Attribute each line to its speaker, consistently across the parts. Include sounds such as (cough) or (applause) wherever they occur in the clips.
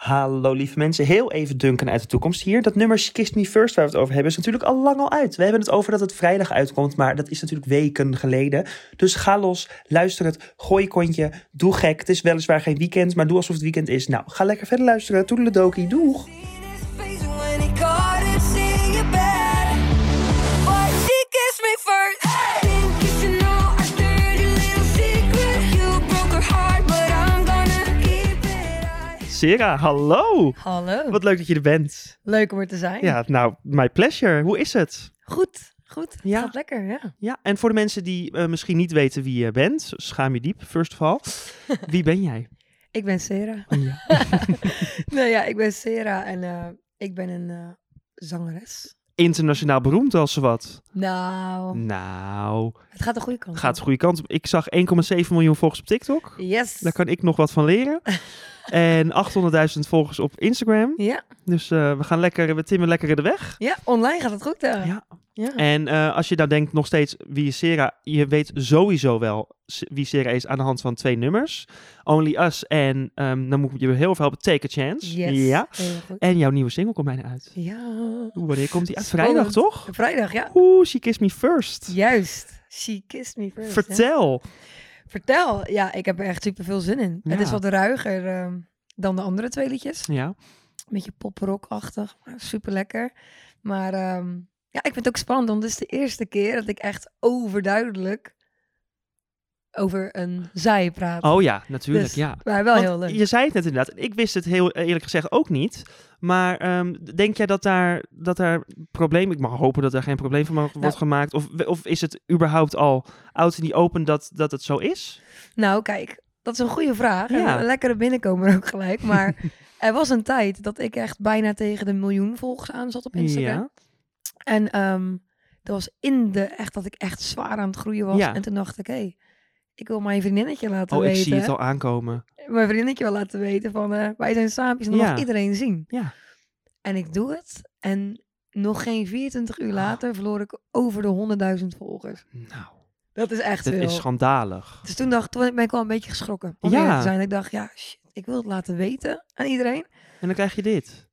Speaker 1: Hallo lieve mensen, heel even Duncan uit de toekomst hier. Dat nummer Kiss Me First waar we het over hebben is natuurlijk al lang al uit. We hebben het over dat het vrijdag uitkomt, maar dat is natuurlijk weken geleden. Dus ga los, luister het, gooi je kontje, doe gek. Het is weliswaar geen weekend, maar doe alsof het weekend is. Nou, ga lekker verder luisteren. Toedeledokie, doeg! Sera, hallo!
Speaker 2: Hallo.
Speaker 1: Wat leuk dat je er bent.
Speaker 2: Leuk om er te zijn.
Speaker 1: Ja, nou, my pleasure. Hoe is het?
Speaker 2: Goed, goed. Het
Speaker 1: Ja.
Speaker 2: Gaat lekker, ja.
Speaker 1: Ja, en voor de mensen die eh, misschien niet weten wie je bent, schaam je diep, first of (laughs) all. Wie ben jij?
Speaker 2: Ik ben Sera.
Speaker 1: Oh, Ja.
Speaker 2: (laughs)
Speaker 1: (laughs)
Speaker 2: nou ja, ik ben Sera en eh, ik ben een eh, zangeres.
Speaker 1: Internationaal beroemd als ze wat.
Speaker 2: Nou,
Speaker 1: Nou,
Speaker 2: het gaat de goede kant.
Speaker 1: het gaat de
Speaker 2: op.
Speaker 1: goede kant op. Ik zag 1,7 miljoen volgers op TikTok.
Speaker 2: Yes.
Speaker 1: Daar kan ik nog wat van
Speaker 2: (laughs)
Speaker 1: leren. En 800.000 volgers op Instagram.
Speaker 2: Ja.
Speaker 1: Dus eh, we gaan lekker, we timmen lekker in de weg.
Speaker 2: ja, online gaat het goed. eh.
Speaker 1: Ja.
Speaker 2: ja.
Speaker 1: En eh, als je dan denkt nog steeds wie is Sera, je weet sowieso wel s- wie Sera is aan de hand van twee nummers. Only Us en ehm, dan moet ik je heel veel helpen, Take a Chance.
Speaker 2: Yes.
Speaker 1: Ja.
Speaker 2: Heel goed.
Speaker 1: En jouw nieuwe single komt bijna uit.
Speaker 2: Ja.
Speaker 1: Oeh, wanneer komt die uit?
Speaker 2: Spannend.
Speaker 1: Vrijdag, toch?
Speaker 2: Vrijdag, ja.
Speaker 1: Oeh, She Kissed Me First.
Speaker 2: Juist. She kissed me first. hè.
Speaker 1: Vertel.
Speaker 2: Vertel. Ja, ik heb er echt super veel zin in. Het
Speaker 1: Ja.
Speaker 2: is wat ruiger ehm, dan de andere twee liedjes.
Speaker 1: Ja.
Speaker 2: beetje poprockachtig, super lekker. Maar ehm, ja, ik vind het ook spannend, want het is de eerste keer dat ik echt overduidelijk over een zij praat.
Speaker 1: Oh ja, natuurlijk,
Speaker 2: Dus,
Speaker 1: ja.
Speaker 2: Maar wel
Speaker 1: Want
Speaker 2: heel leuk.
Speaker 1: Je zei het net inderdaad. Ik wist het heel eerlijk gezegd ook niet. Maar ehm, denk jij dat daar, dat daar probleem... Ik mag hopen dat daar geen probleem van wordt
Speaker 2: Nou.
Speaker 1: gemaakt. Of, of is het überhaupt al out in die open dat, dat het zo is?
Speaker 2: Nou, kijk, dat is een goede vraag. En
Speaker 1: Ja.
Speaker 2: Een lekkere binnenkomer ook gelijk. Maar
Speaker 1: (laughs)
Speaker 2: er was een tijd dat ik echt bijna tegen de miljoen volgers aan zat op Instagram.
Speaker 1: Ja.
Speaker 2: En ehm, dat was in de echt dat ik echt zwaar aan het groeien was.
Speaker 1: Ja.
Speaker 2: En toen dacht ik, hé, ik wil mijn vriendinnetje laten
Speaker 1: Oh, ik
Speaker 2: weten.
Speaker 1: zie het al aankomen.
Speaker 2: mijn vriendinnetje wel laten weten van eh, wij zijn saampjes en dan
Speaker 1: Ja.
Speaker 2: mag iedereen zien.
Speaker 1: Ja.
Speaker 2: En ik doe het en nog geen 24
Speaker 1: Ah.
Speaker 2: uur later verloor ik over de 100.000 volgers.
Speaker 1: Nou,
Speaker 2: Dat is echt
Speaker 1: dat
Speaker 2: veel.
Speaker 1: is schandalig.
Speaker 2: Dus toen, dacht, toen ben ik wel een beetje geschrokken. Om
Speaker 1: Ja.
Speaker 2: eerlijk te zijn. Ik dacht, ja, shit, ik wil het laten weten aan iedereen.
Speaker 1: En dan krijg je dit.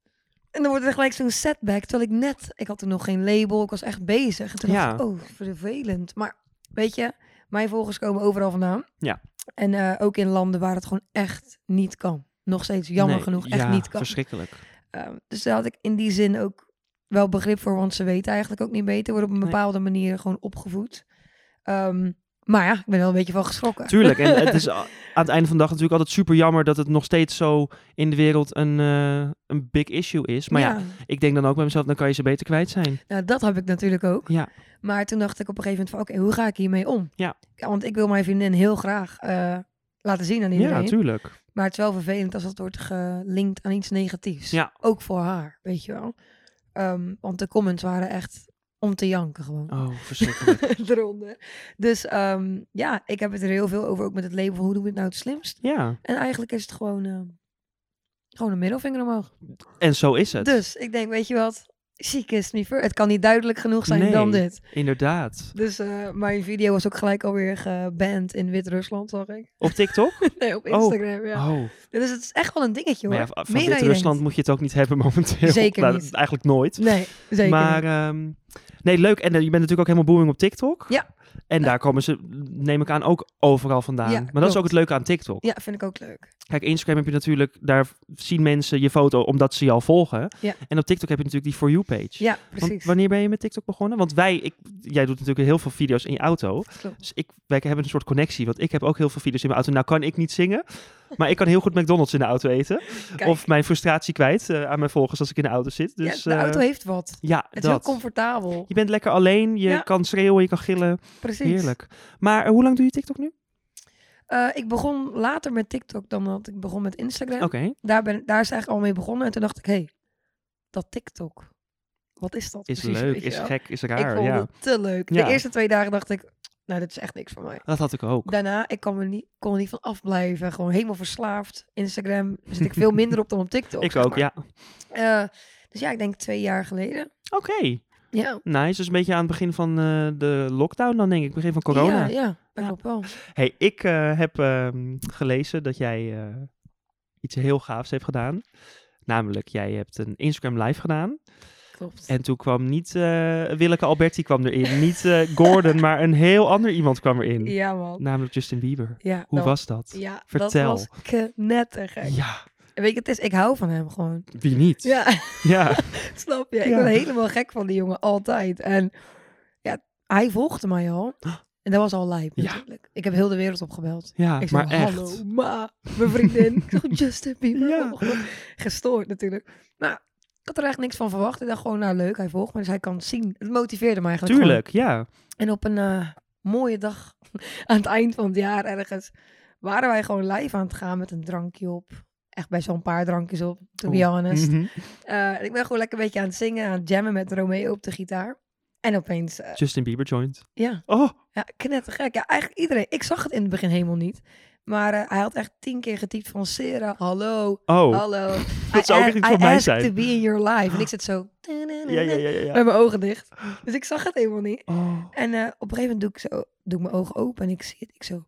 Speaker 2: En dan wordt er gelijk zo'n setback. Terwijl ik net, ik had toen nog geen label, ik was echt bezig. En toen
Speaker 1: Ja.
Speaker 2: dacht ik, oh, vervelend. Maar weet je, mijn volgers komen overal vandaan.
Speaker 1: Ja.
Speaker 2: En eh, ook in landen waar het gewoon echt niet kan. Nog steeds jammer
Speaker 1: Nee,
Speaker 2: genoeg echt
Speaker 1: ja,
Speaker 2: niet kan.
Speaker 1: verschrikkelijk.
Speaker 2: Ehm, dus daar had ik in die zin ook wel begrip voor, want ze weten eigenlijk ook niet beter, worden op een
Speaker 1: Nee.
Speaker 2: bepaalde manier gewoon opgevoed. Ehm, maar ja, ik ben er wel een beetje van geschrokken.
Speaker 1: Tuurlijk. En het
Speaker 2: (laughs)
Speaker 1: is a- aan het einde van de dag natuurlijk altijd super jammer... dat het nog steeds zo in de wereld een, eh, een big issue is. Maar ja, ik denk dan ook bij mezelf... dan kan je ze beter kwijt zijn.
Speaker 2: nou, dat heb ik natuurlijk ook.
Speaker 1: Ja.
Speaker 2: Maar toen dacht ik op een gegeven moment van, oké, hoe ga ik hiermee om?
Speaker 1: Ja.
Speaker 2: want ik wil mijn vriendin heel graag eh, laten zien aan
Speaker 1: Ja,
Speaker 2: iedereen.
Speaker 1: natuurlijk.
Speaker 2: maar het is wel vervelend als dat wordt gelinkt aan iets negatiefs.
Speaker 1: Ja.
Speaker 2: Ook voor haar, weet je wel. Ehm, want de comments waren echt om te janken gewoon.
Speaker 1: Oh, verschrikkelijk.
Speaker 2: (laughs) eronder. Dus ehm, ja, ik heb het er heel veel over, ook met het label van hoe doen we het nou het slimst.
Speaker 1: ja,
Speaker 2: En eigenlijk is het gewoon, ehm, gewoon een middelvinger omhoog.
Speaker 1: en zo is het.
Speaker 2: Dus ik denk, weet je wat, she kissed me first. Het kan niet duidelijk genoeg zijn dan
Speaker 1: Nee.
Speaker 2: dit.
Speaker 1: Inderdaad.
Speaker 2: Dus eh, mijn video was ook gelijk alweer geband in Wit-Rusland, zag ik. (laughs)
Speaker 1: Op TikTok?
Speaker 2: Nee, op
Speaker 1: Oh.
Speaker 2: Instagram, ja.
Speaker 1: Oh,
Speaker 2: Dus het is echt wel een dingetje hoor.
Speaker 1: maar ja, van
Speaker 2: Meer dan je
Speaker 1: Wit-Rusland
Speaker 2: denkt.
Speaker 1: moet je het ook niet hebben momenteel. (laughs)
Speaker 2: Zeker
Speaker 1: Nou,
Speaker 2: niet.
Speaker 1: Eigenlijk nooit.
Speaker 2: Nee, zeker
Speaker 1: maar,
Speaker 2: niet.
Speaker 1: ehm, nee, leuk. En eh, je bent natuurlijk ook helemaal booming op TikTok.
Speaker 2: Ja.
Speaker 1: En daar komen ze, neem ik aan, ook overal vandaan.
Speaker 2: Ja,
Speaker 1: maar dat is ook
Speaker 2: klopt.
Speaker 1: het leuke aan TikTok.
Speaker 2: Ja, vind ik ook leuk.
Speaker 1: Kijk, Instagram heb je natuurlijk, daar zien mensen je foto omdat ze jou volgen.
Speaker 2: Ja.
Speaker 1: En op TikTok heb je natuurlijk die For You page.
Speaker 2: Ja,
Speaker 1: Want
Speaker 2: precies.
Speaker 1: wanneer ben je met TikTok begonnen? Want wij, ik, jij doet natuurlijk heel veel video's in je auto.
Speaker 2: Klopt.
Speaker 1: Dus ik, wij hebben een soort connectie, want ik heb ook heel veel video's in mijn auto. Nou kan ik niet zingen, maar ik kan heel goed McDonald's in de auto eten.
Speaker 2: Kijk,
Speaker 1: Of mijn frustratie kwijt eh, aan mijn volgers als ik in de auto zit.
Speaker 2: ja,
Speaker 1: Dus,
Speaker 2: de auto
Speaker 1: eh,
Speaker 2: heeft wat.
Speaker 1: ja,
Speaker 2: Het is heel
Speaker 1: dat.
Speaker 2: comfortabel.
Speaker 1: je bent lekker alleen, je
Speaker 2: Ja.
Speaker 1: kan schreeuwen, je kan gillen.
Speaker 2: Precies.
Speaker 1: Heerlijk. Maar eh, hoe lang doe je TikTok nu?
Speaker 2: Eh, ik begon later met TikTok dan dat ik begon met Instagram.
Speaker 1: Oké.
Speaker 2: Daar, ben, ik- daar is het eigenlijk al mee begonnen. En toen dacht ik, hé, hey, dat TikTok, wat is dat
Speaker 1: Is
Speaker 2: precies,
Speaker 1: leuk,
Speaker 2: weet je
Speaker 1: is
Speaker 2: wel?
Speaker 1: gek, is
Speaker 2: ik
Speaker 1: raar.
Speaker 2: vond
Speaker 1: Ja.
Speaker 2: het te leuk.
Speaker 1: Ja.
Speaker 2: De eerste twee dagen dacht ik, nou, dit is echt niks voor mij.
Speaker 1: Dat had ik ook.
Speaker 2: Daarna, ik kon, me niet, kon er niet van afblijven. Gewoon helemaal verslaafd. Instagram zit ik veel minder op dan op
Speaker 1: (laughs)
Speaker 2: TikTok.
Speaker 1: Ik
Speaker 2: zeg
Speaker 1: ook,
Speaker 2: maar.
Speaker 1: ja.
Speaker 2: Eh, dus ja, ik denk twee jaar geleden.
Speaker 1: Oké.
Speaker 2: Ja.
Speaker 1: Nice. Dus een beetje aan het begin van eh, de lockdown dan, denk ik. Begin van corona.
Speaker 2: Ja, ja, ik
Speaker 1: Ja.
Speaker 2: hoop wel.
Speaker 1: Hey, ik eh, heb ehm, gelezen dat jij eh, iets heel gaafs hebt gedaan. Namelijk, jij hebt een Instagram live gedaan.
Speaker 2: Klopt.
Speaker 1: En toen kwam niet eh, Willeke Alberti kwam
Speaker 2: (laughs)
Speaker 1: erin. Niet eh, Gordon, maar een heel ander iemand kwam erin.
Speaker 2: Ja, man.
Speaker 1: Namelijk Justin Bieber.
Speaker 2: Ja,
Speaker 1: Hoe
Speaker 2: dat-
Speaker 1: was dat?
Speaker 2: Ja,
Speaker 1: Vertel.
Speaker 2: dat was knettergek.
Speaker 1: Ja,
Speaker 2: En Weet je, het is, ik hou van hem gewoon.
Speaker 1: wie niet?
Speaker 2: Ja, (laughs)
Speaker 1: Ja.
Speaker 2: snap je? Ik
Speaker 1: Ja.
Speaker 2: ben helemaal gek van die jongen, altijd. En ja, hij volgde
Speaker 1: (gasps)
Speaker 2: mij al. En dat was al lijp
Speaker 1: Ja.
Speaker 2: natuurlijk. Ik heb heel de wereld opgebeld.
Speaker 1: Ja,
Speaker 2: (laughs) Ik zei,
Speaker 1: maar
Speaker 2: hallo,
Speaker 1: echt.
Speaker 2: ma, mijn
Speaker 1: (laughs)
Speaker 2: vriendin. ik dacht, Justin Bieber.
Speaker 1: Ja.
Speaker 2: Oh, God. Gestoord natuurlijk. Maar ik had er eigenlijk niks van verwacht. Ik dacht gewoon, nou leuk, hij volgt me. Dus hij kan het zien. Het motiveerde me eigenlijk gewoon.
Speaker 1: Tuurlijk, ja.
Speaker 2: En op een eh, mooie dag, (laughs) aan het eind van het jaar ergens, waren wij gewoon live aan het gaan met een drankje op. Echt bij zo'n paar drankjes op, to be
Speaker 1: Oeh.
Speaker 2: honest.
Speaker 1: Mhm.
Speaker 2: Eh, en ik ben gewoon lekker een beetje aan het zingen, aan het jammen met Romeo op de gitaar. En opeens, eh,
Speaker 1: Justin Bieber joint.
Speaker 2: ja,
Speaker 1: Oh,
Speaker 2: ja, knettergek. Ja, eigenlijk iedereen. Ik zag het in het begin helemaal niet. Maar eh, hij had echt tien keer getypt van Sarah, hallo,
Speaker 1: (laughs) oh.
Speaker 2: hallo.
Speaker 1: Dat zou ook echt iets
Speaker 2: I
Speaker 1: van mij
Speaker 2: asked
Speaker 1: zijn.
Speaker 2: to be in your life. En ik zit zo
Speaker 1: Ja, ja, ja, ja.
Speaker 2: (laughs) met mijn ogen dicht. Dus ik zag het helemaal niet.
Speaker 1: Oh.
Speaker 2: En eh, op een gegeven moment doe ik, zo, doe ik mijn ogen open en ik zie het. Ik zo,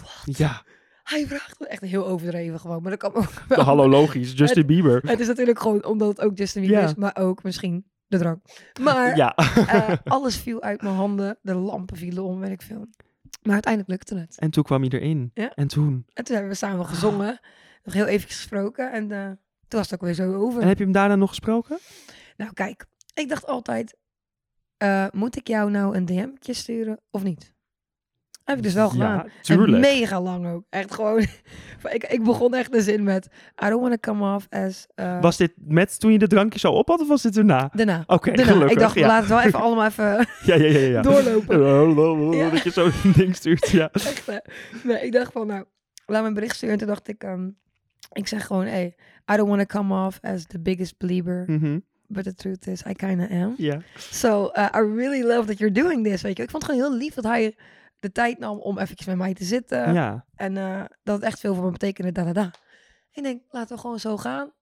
Speaker 2: wat?
Speaker 1: Ja, (laughs)
Speaker 2: Hij vraagt me echt heel overdreven gewoon. Maar dat kan ook wel.
Speaker 1: hallo logisch. Justin Bieber.
Speaker 2: Het is natuurlijk gewoon omdat het ook Justin Bieber
Speaker 1: Ja.
Speaker 2: is, maar ook misschien de drank. Maar
Speaker 1: Ja.
Speaker 2: eh, alles viel uit mijn handen. De lampen vielen om, weet ik veel. Maar uiteindelijk lukte het.
Speaker 1: En toen kwam hij erin.
Speaker 2: Ja.
Speaker 1: En toen.
Speaker 2: En toen hebben we samen
Speaker 1: Ah.
Speaker 2: gezongen. Nog heel even gesproken. En eh, toen was het ook weer zo over.
Speaker 1: En heb je hem daarna nog gesproken?
Speaker 2: Nou, kijk. Ik dacht altijd... eh, moet ik jou nou een DM'tje sturen of niet? Heb ik dus wel gedaan.
Speaker 1: Ja,
Speaker 2: En
Speaker 1: tuurlijk.
Speaker 2: mega lang ook. Echt gewoon... (laughs) ik, ik begon echt de zin met... I don't want to come off as... eh,
Speaker 1: Was dit met toen je de drankje zo op had of was dit erna?
Speaker 2: Daarna.
Speaker 1: Oké,
Speaker 2: Daarna.
Speaker 1: gelukkig.
Speaker 2: ik dacht, we
Speaker 1: ja.
Speaker 2: laten het wel
Speaker 1: (laughs)
Speaker 2: even allemaal even
Speaker 1: ja, ja, ja, (laughs) ja.
Speaker 2: (laughs) doorlopen. Ja.
Speaker 1: Dat je zo'n (laughs) ding stuurt,
Speaker 2: (laughs)
Speaker 1: ja.
Speaker 2: Echt, hè. Nee, ik dacht van, nou, laat me een bericht sturen. En toen dacht ik, ehm, ik zeg gewoon, hey, I don't want to come off as the biggest believer,
Speaker 1: Mhm,
Speaker 2: but the truth is, I kinda am.
Speaker 1: ja.
Speaker 2: So, uh, I really love that you're doing this, weet je. Ik vond het gewoon heel lief dat hij de tijd nam om eventjes met mij te zitten.
Speaker 1: ja.
Speaker 2: En eh, dat het echt veel voor me betekende, da, da, da. Ik denk, laten we gewoon zo gaan.